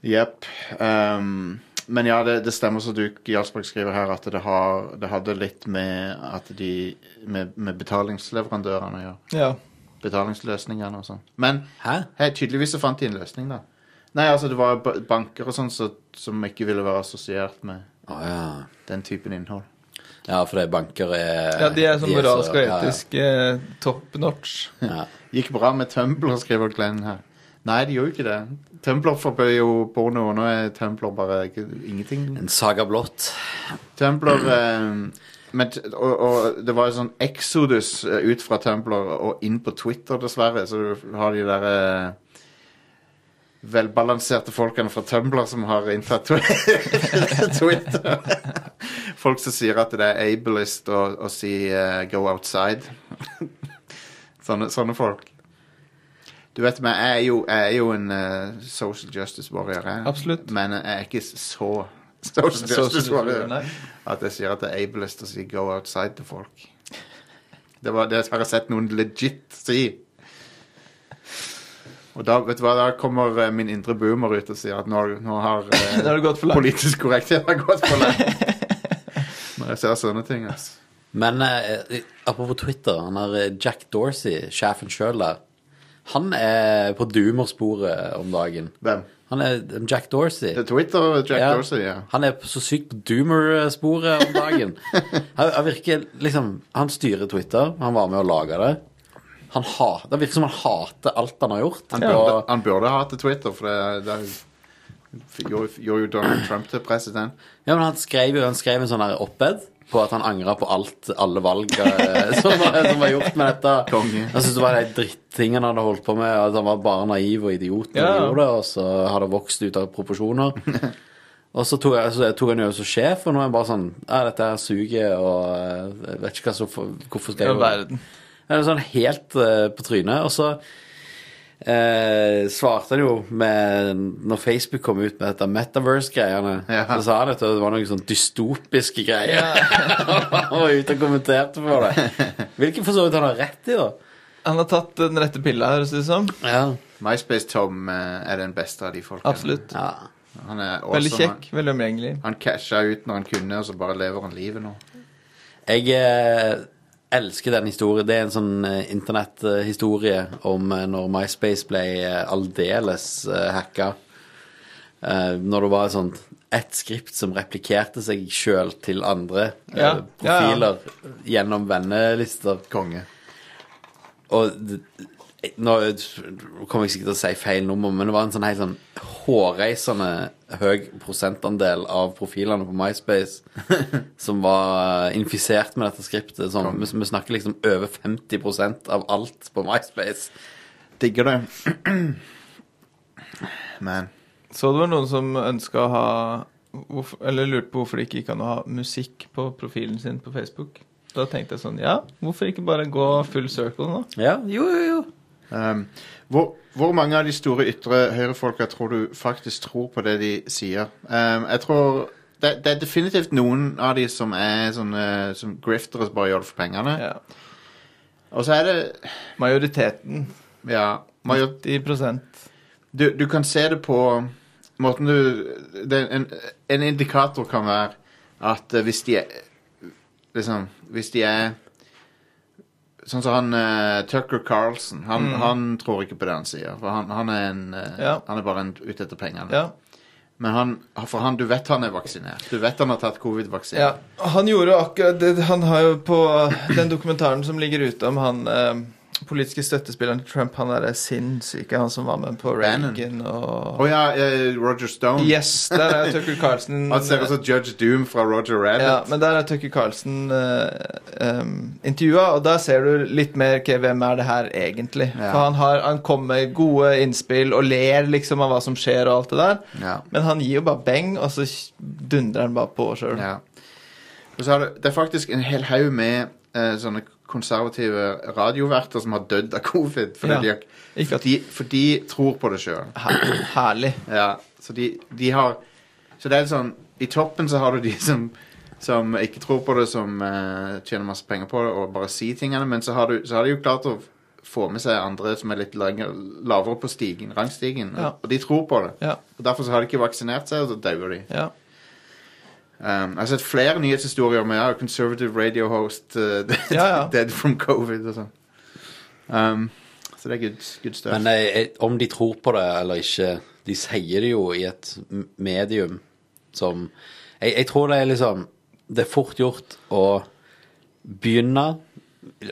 Jepp. Ehm, men ja, det, det stemmer som du Jarlsberg skriver her, at det, har, det hadde litt med at de Med, med betalingsleverandørene å gjøre.
Ja.
betalingsløsningene og sånn. Men
Hæ?
hei, tydeligvis så fant de en løsning, da. Nei, altså det var ba- banker og sånn så, som ikke ville være assosiert med
Å ja.
den typen innhold.
Ja, for det banker er
ja, de er sånn moralsk og
ja, ja.
etisk eh, top notch.
Ja.
Gikk bra med Tumblr, skriver Glenn her. Nei, det gjorde ikke det. Tumblr forbød jo porno, og nå er Tumblr bare ikke- ingenting.
En saga blått.
Tumblr eh, men, t- og, og det var jo sånn exodus eh, ut fra Tumblr og inn på Twitter, dessverre. Så du har de derre eh, velbalanserte folkene fra Tumblr som har inntatt Twi- Twitter. Folk som sier at det er ableist å, å si eh, 'go outside'. sånne, sånne folk. Du vet meg, jeg er jo, jeg er jo en eh, social justice warrior, jeg.
Absolutt.
men jeg er ikke så social justice warrior at jeg sier at det er ableist å si 'go outside' til folk. Det, var, det har jeg sett noen legit si. Og da, vet du hva, da kommer eh, min indre boomer ut og sier at nå, nå har eh,
Da har det gått for langt.
politisk korrekthet har gått for langt. Når jeg ser sånne ting, altså.
Men eh, apropos Twitter, han er eh, Jack Dorsey, sjefen sjøl der. Han er på doomersporet om dagen.
Hvem?
Han er eh, Jack Dorsey.
Det er Twitter og Jack
Ja.
Dorsey, ja.
Han er så sykt på doomer-sporet om dagen. Han, han virker liksom Han styrer Twitter, han var med å lage det. Han hat, det virker som han hater alt han har gjort.
Han
og-
burde, han burde ha til Twitter, for det, det er jo- gjorde gjorde jo Donald Trump til president.
Ja, men han skrev jo han skrev en sånn her opped på at han angra på alt, alle valg eh, som, var- som var gjort med dette.
Konge.
Han syntes det var de drittingene han hadde holdt på med, at han var bare naiv og idiot, når
Ja.
han gjorde det, og så har det vokst ut av proporsjoner. Og så tok, jeg, så tok han jo som sjef, og nå er han bare sånn Ja, dette her suger, og eh, jeg vet ikke hva som Hvorfor skal
Ja,
jeg gjøre det?»
verden.
Ja, det er sånn helt eh, på trynet. Og så eh, svarte han jo med Når Facebook kom ut med dette metaverse-greiene,
Ja.
så sa han at det var noen sånn dystopiske greier.
Ja.
Han var ute og kommenterte på det. Hvilken for så vidt han har rett i, da.
Han har tatt den rette pilla, høres det ut som.
Ja.
MySpace-Tom eh, er den beste av de folkene.
Absolutt.
ja.
Han er awesome.
Veldig kjekk, veldig omgjengelig.
Han casha ut når han kunne, og så bare lever han livet nå.
Jeg eh, elsker den historien. Det er en sånn eh, internetthistorie om eh, når MySpace ble eh, aldeles eh, hacka. Eh, når det var et sånt ett skript som replikerte seg sjøl til andre eh,
Ja, ja, ja.
profiler gjennom vennelister.
Konge.
Og d- nå kommer jeg sikkert til å si feil nummer, men det var en sånn helt sånn hårreisende høy prosentandel av profilene på MySpace som var eh, infisert med dette skriptet. Sånn, vi, vi snakker liksom over 50 av alt på MySpace.
Digger det. Man.
Så det var noen som ønska å ha hvorfor, Eller lurte på hvorfor det ikke gikk an å ha musikk på profilen sin på Facebook. Da tenkte jeg sånn Ja, hvorfor ikke bare gå full circle nå?
Ja, jo, jo, jo.
Um, hvor, hvor mange av de store ytre høyrefolka tror du faktisk tror på det de sier? Um, jeg tror det, det er definitivt noen av de som er sånne som grifter og bare gjør det for pengene.
Ja.
Og så er det
Majoriteten.
Ja. Major,
90
du, du kan se det på måten du det, er en, en indikator kan være at eh, hvis de er Liksom, hvis de er Sånn som han eh, Tucker Carlson. Han, han tror ikke på det han sier. For han, han, er, en, eh,
Mm. Ja.
han er bare en, ute etter pengene.
Ja.
Men han, for han, du vet han er vaksinert. Du vet han har tatt covid-vaksine.
Ja, han gjorde jo akkurat det Han har jo på den dokumentaren som ligger ute om han eh, politiske støttespilleren til Trump, han derre sinnssyke, han som var med på
Bannon.
Reagan
Å
og
ja, eh, Roger Stone.
Yes, der er Tucker Carlson eh,
Han ser ut som Judge Doom fra Roger Rabbit.
ja, men der er Tucker Carlson uh, intervjua, og der ser du litt mer ok, hvem er det her egentlig.
Ja.
For han, har, han kommer med gode innspill og ler liksom av hva som skjer og alt det der.
Ja.
Men han gir jo bare beng, og så dundrer han bare på sjøl.
Ja. Og så er det, det er faktisk en hel haug med eh, sånne konservative radioverter som har dødd av covid. Fordi,
Ja.
de, har-
Ikke at-
fordi, for de tror på det sjøl.
Her, herlig.
Ja. Så de, de har Så det er sånn I toppen så har du de som som ikke tror på det, som eh, tjener masse penger på det og bare sier tingene. Men så har, du, så har de jo klart å få med seg andre som er litt lenger, lavere på stigen, rangstigen.
Ja.
Og, og de tror på det.
Ja.
Og Derfor så har de ikke vaksinert seg, og så dauer de.
ja.
Um, jeg har sett flere nyhetshistorier med ja, conservative radio host uh, dead,
Ja, ja.
dead from covid og sånn. Um, så det er good, good stuff.
Men eh, eh, om de tror på det eller ikke De sier det jo i et m- medium som Jeg, jeg tror det er liksom Det er fort gjort å begynne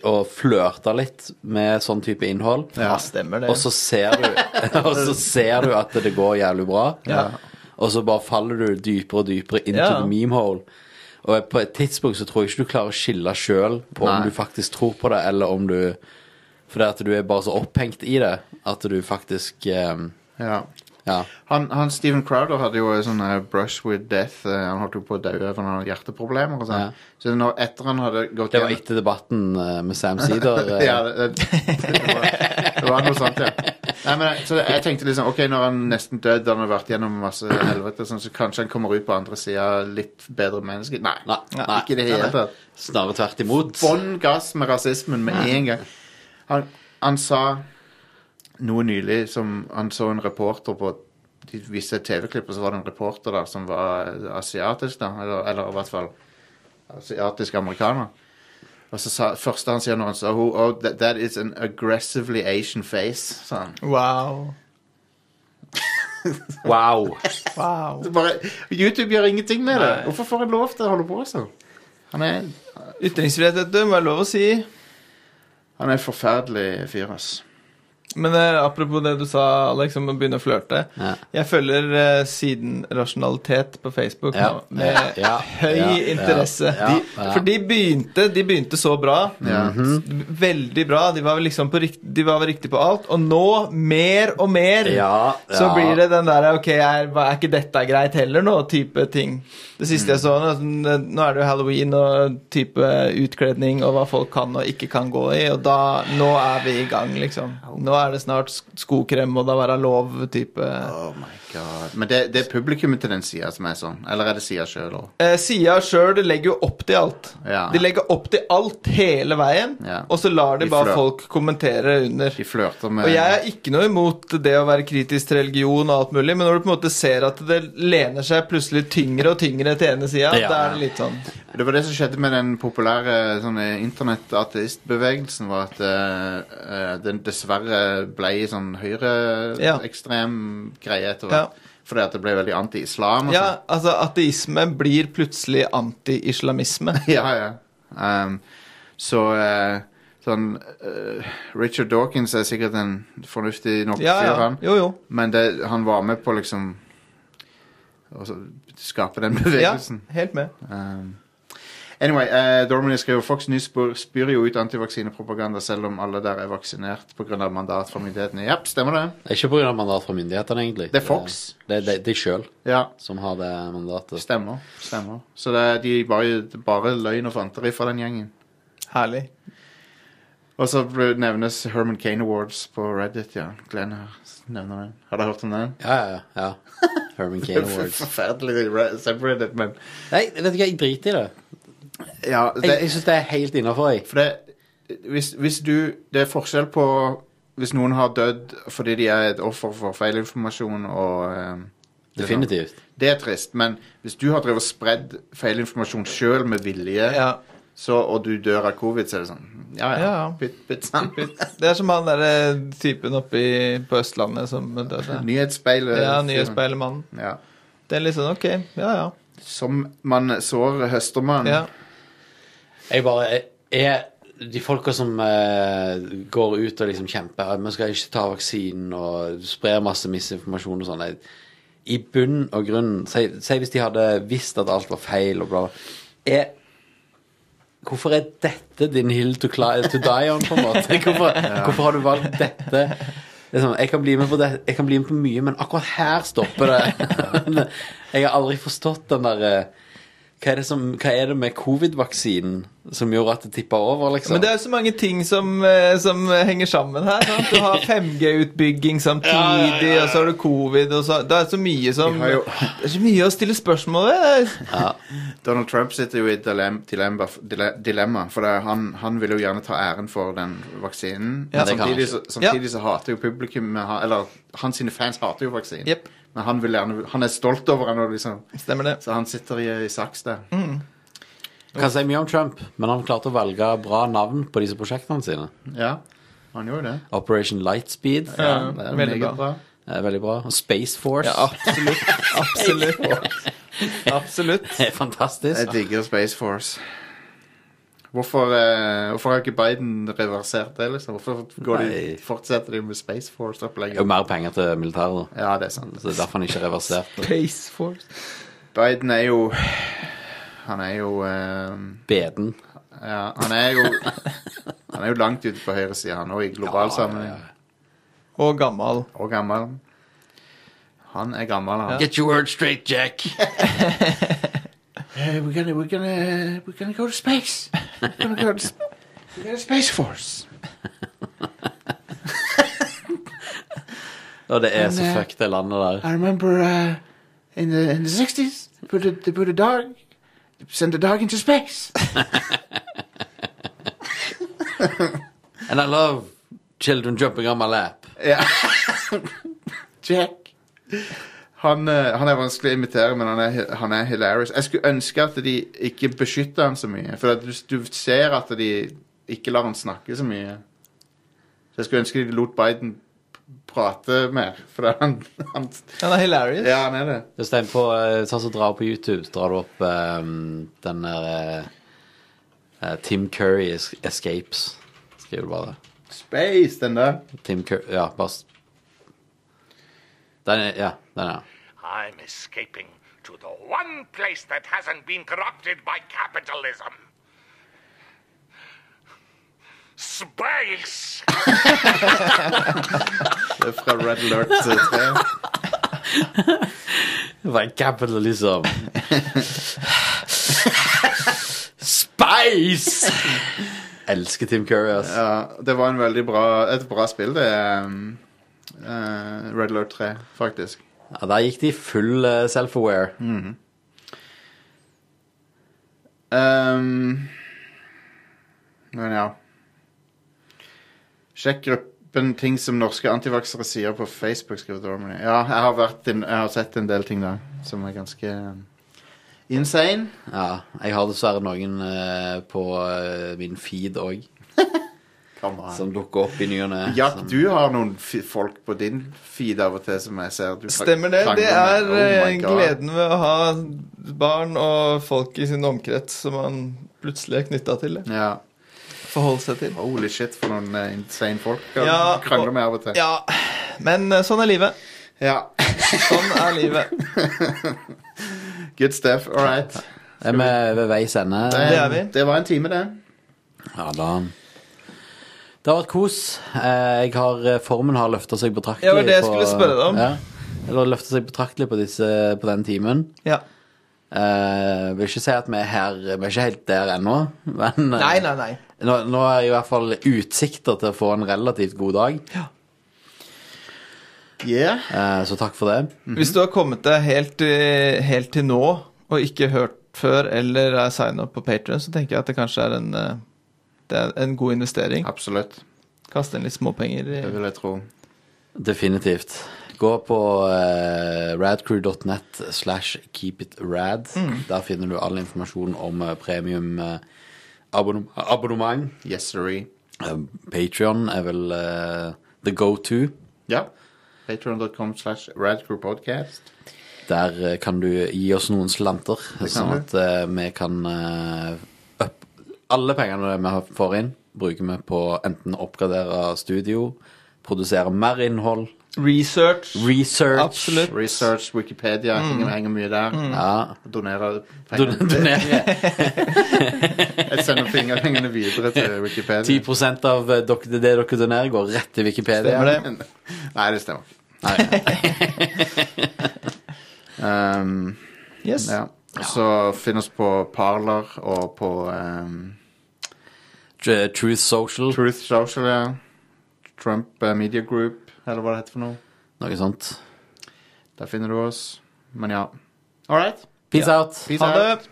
å flørte litt med sånn type innhold.
Ja, stemmer det.
Og så ser du, og så ser du at det går jævlig bra.
Ja.
Og så bare faller du dypere og dypere into
Ja.
the meme hole. Og på et tidspunkt så tror jeg ikke du klarer å skille sjøl på
Nei.
om du faktisk tror på det, eller om du Fordi at du er bare så opphengt i det at du faktisk eh,
ja.
Ja.
Han, han Steven Crowder hadde jo sånn eh, brush with death. eh, Han holdt jo på å daue av noen hjerteproblemer og sånn.
Ja.
Så når etter han hadde gått
Det var
gjennom-
etter debatten eh, med Sam Seeder. eh,
ja, det, det, det, var, det var noe sånt, ja. Nei, men, så jeg tenkte liksom Ok, når han nesten døde, han har vært gjennom masse helvete, sånn, så kanskje han kommer ut på andre sida litt bedre menneske. Nei,
Nei, nei.
ikke i det hele tatt.
Snarere tvert imot.
Bånn gass med rasismen med en gang. Han, han sa noe nylig som Han så en reporter på De viste et TV-klipp, og så var det en reporter der som var asiatisk, da. Eller, eller i hvert fall asiatisk amerikaner. Og så sa første han sier når han sa oh, oh, that, that is an aggressively Asian face, sa han.
Wow.
Wow.
Wow.
Det bare, YouTube gjør ingenting med det.
Nei.
Hvorfor får han lov til å holde på sånn? Han er,
Ytringsfrihet, vet du, må jeg lov å si.
han er en forferdelig fyr, ass.
Men eh, apropos det du sa, Alex, om å begynne å flørte.
Ja.
Jeg følger eh, siden Rasjonalitet på Facebook
Ja.
nå, med
Ja.
høy
Ja.
interesse.
Ja.
De,
Ja.
For de begynte, de begynte så bra.
Ja.
Mhm. Veldig bra. De var liksom på rikt, de var riktig på alt. Og nå, mer og mer,
Ja,
så
ja.
blir det den derre Ok, er, hva- er ikke dette greit heller nå? type ting. Det siste jeg så,
Mm.
nå, sånn, nå er det jo halloween og type utkledning og hva folk kan og ikke kan gå i, og da Nå er vi i gang, liksom. Nå er det snart sk- skokrem og da være lov type
Oh my god. Men det, det er publikummet til den sida som er sånn? Eller er det sida sjøl òg?
eh, Sia sjøl legger jo opp til alt.
Ja.
De legger opp til alt hele veien,
Ja.
og så lar de
De
bare
flør.
folk kommentere under.
De flørter med
Og jeg er ikke noe imot det å være kritisk til religion og alt mulig, men når du på en måte ser at det lener seg plutselig tyngre og tyngre til ene sida,
Ja.
da er det litt sånn
Det var det som skjedde med den populære sånn, eh, internett-ateistbevegelsen, var at eh, eh, den dessverre ble i sånn
Ja.
høyreekstrem greie etter
Ja.
hvert. Fordi at det ble veldig anti-islam. og
Ja,
sånn.
altså ateisme blir plutselig anti-islamisme.
sånn. ja, ja. Ehm, så eh, sånn eh, Richard Dawkins er sikkert en fornuftig nok
Ja,
fyr,
ja.
han.
Jo, jo.
Men det, han var med på liksom å så- skape den
Ja,
bevegelsen.
helt med.
Um, anyway, uh, Dormany skriver Fox News spyr, spyr jo ut antivaksinepropaganda selv om alle der er vaksinert pga. mandat fra myndighetene. Ja, stemmer det.
Det er ikke pga. mandat fra myndighetene, egentlig.
Det er Fox.
Det er de, de sjøl
Ja,
som har det mandatet.
stemmer. stemmer. Så det er de bare, det er bare løgn og fanteri fra den gjengen.
Herlig.
Og så ble- nevnes Herman Kane Awards på Reddit, ja. Glenn her nevner den. Har dere hørt om den?
Ja, ja, ja. ja. Herman Kane Awards.
Forferdelig re- subreddit, men
Nei, vet du hva, jeg driter i det.
Ja,
Jeg,
det,
jeg syns det er helt innafor, jeg.
For det, hvis, hvis du Det er forskjell på hvis noen har dødd fordi de er et offer for feilinformasjon og eh, det er sånn-
Definitivt.
Det er trist, men hvis du har drevet og spredd feilinformasjon sjøl med vilje,
Ja.
så, og du dør av covid, så er det sånn Ja, ja.
Ja, ja.
Pytt, pytt, sann.
Det er som han derre typen oppe i- på Østlandet som døde.
Nyhetsspeilet.
Ja, nyhetsspeilermannen.
Ja.
Det er litt sånn ok, ja ja.
Som man sår, høster man.
ja.
Jeg bare jeg- jeg, De folka som eh, går ut og liksom kjemper at man skal ikke ta vaksinen og sprer masse misinformasjon og sånn jeg- I bunn og grunn Si si hvis de hadde visst at alt var feil og bla, bla. Er, hvorfor er dette din hill to, cli- to die on, på en måte? Hvorfor, hvorfor har du valgt dette? Det er sånn, jeg, kan bli med på det, jeg kan bli med på mye, men akkurat her stopper det. jeg har aldri forstått den derre hva er, det som, hva er det med covid-vaksinen som gjorde at det tippa over, liksom?
Men det er jo så mange ting som, eh, som henger sammen her. Sant? Du har 5G-utbygging samtidig, og så har du covid og så, Det er så mye som
Vi har jo-
Det er så mye å stille spørsmål ved.
Donald Trump sitter jo i et dilem, dilemma, dile- dilemma for det, er han, han vil jo gjerne ta æren for den vaksinen.
Ja,
men
det
kan
samtidig så,
han
samtidig så hater jo publikum med han- Eller hans sine fans hater jo vaksinen.
Jep.
Men han, vil gjerne, han er stolt over den, og liksom,
Stemmer det.
så han sitter i, i saks der.
Mm.
Kan si mye om Trump, men han klarte å velge bra navn på disse prosjektene sine.
Ja, han gjorde det.
Operation Lightspeed
Ja,
det er
veldig
meget
bra.
er veldig bra. Og Space Force
Ja, absolutt. Absolutt. Absolutt.
er fantastisk.
Jeg digger Space Force. Hvorfor, eh, hvorfor har ikke Biden reversert det, liksom? Hvorfor går de,
Nei.
fortsetter de med Space
Det er jo
Force-opplegget?
mer penger til militæret, da.
Ja, det er sant.
Så det er derfor han ikke er reversert.
Space Force.
Biden er jo Han er jo eh,
Beden.
Ja, han er jo Han er jo langt ute på høyresida, han òg, i global sammenheng.
Og gammal.
Og gammel. Han er gammel, han.
Get your word straight, Jack.
Eh, we're, gonna, we're, gonna, we're gonna eh, go to space. We're gonna go to, sp- we're gonna Space Force.
Og det er så
Men, eh,
fucked, det landet der.
I remember uh, in, the, in the 60s, they put a, they put a dog, they sent a dog into space.
And I love children jumping on my lap.
Jack. Han, eh, han er vanskelig å imitere, men han er, han er hilarious. Jeg skulle ønske at de ikke beskytter han så mye. For at du, du ser at de ikke lar han snakke så mye. Så jeg skulle ønske de lot Biden prate mer. For at han, han
Han er hilarious.
Ja, han er det.
Jostein, på, eh, sånn som drar på YouTube, så drar du opp eh, den der eh, eh, Tim Curry es Escapes. Skriver du bare det.
Space, den der.
Tim Curry Ja, bare s- Den er Ja, den er
I'm escaping to the one place that hasn't been corrupted by capitalism. Space!
Det er fra Red Alert eh, 3.
Like capitalism. Spice! Elsker Tim Curry, ass.
Ja, det var en veldig bra, et bra spill, det. Um, eh, Red Alert 3, faktisk.
Ja, der gikk de full eh, self-aware.
Um, men ja. Sjekk gruppen ting som norske antivaksere sier på Facebook. skriver Dormany. Ja, jeg har, vært en, jeg har sett en del ting der som er ganske um, insane.
Ja, jeg har dessverre noen eh, på eh, min feed òg, som dukker opp i ny og ne.
Jack,
som-
du har noen fi- folk på din feed av og til som jeg ser du
Stemmer det.
krangler
Det
med.
er
Oh my
eh,
God.
gleden ved å ha barn og folk i sin omkrets som man plutselig er knytta til. eh,
Ja.
Forholde seg til.
Holy shit, for noen eh, insane folk han
Ja,
krangler
og-
med av og til.
Ja, men eh, sånn er livet.
Ja.
Sånn er livet.
Good stuff. All right. Eh,
Er vi ved veis ende?
Det er vi.
Det var en time, det.
Ja, da. Det har vært kos. Eh, Jeg har, eh, formen har løfta seg betraktelig.
Ja, det var det jeg
på-
skulle spørre deg om.
Ja, eller løfta seg betraktelig på, disse, på den timen.
Ja.
Eh, vil ikke si at vi er her Vi er ikke helt der ennå, men eh,
Nei, nei, nei.
Nå, nå er jeg i hvert fall utsikter til å få en relativt god dag,
Yeah.
eh, så takk for det.
Mm-hmm. Hvis du har kommet deg helt, eh, helt til nå og ikke hørt før eller er sign up på Patreon, så tenker jeg at det kanskje er en, eh, det er en god investering.
Absolutt.
Kaste inn litt småpenger.
Det
i-
vil jeg tro.
Definitivt. Gå på eh, radcrew.net slash keepitrad. Der finner du all informasjon om eh, premium eh, abonn abonnement.
Yes, sorry.
Eh, Patreon er vel eh, the go-to.
Ja. Patreon.com slash radcrewpodcast.
Der eh, kan du gi oss noen slanter, sånn
du.
at eh, vi kan eh, opp, Alle pengene vi har- får inn, bruker vi på enten å oppgradere studio, produsere mer innhold,
Research.
research
Absolutt.
Research, Wikipedia,
Mm.
henger, henger mye der.
Ja.
Donerer
Don-
pengene.
Donere
Jeg sender finger- pengene videre til Wikipedia.
10 av eh, dere, det dere donerer, går rett til Wikipedia.
Stemmer det.
Nei, det stemmer ikke. Um,
Yes.
ja. Så finn oss på Parler og på um,
Tr- Truth Social,
Truth Social, ja. Trump eh, Media Group, eller hva det heter for noe.
noe sånt.
Der finner du oss. Men ja. All right.
Peace out.
Peace
Ha
out.
det.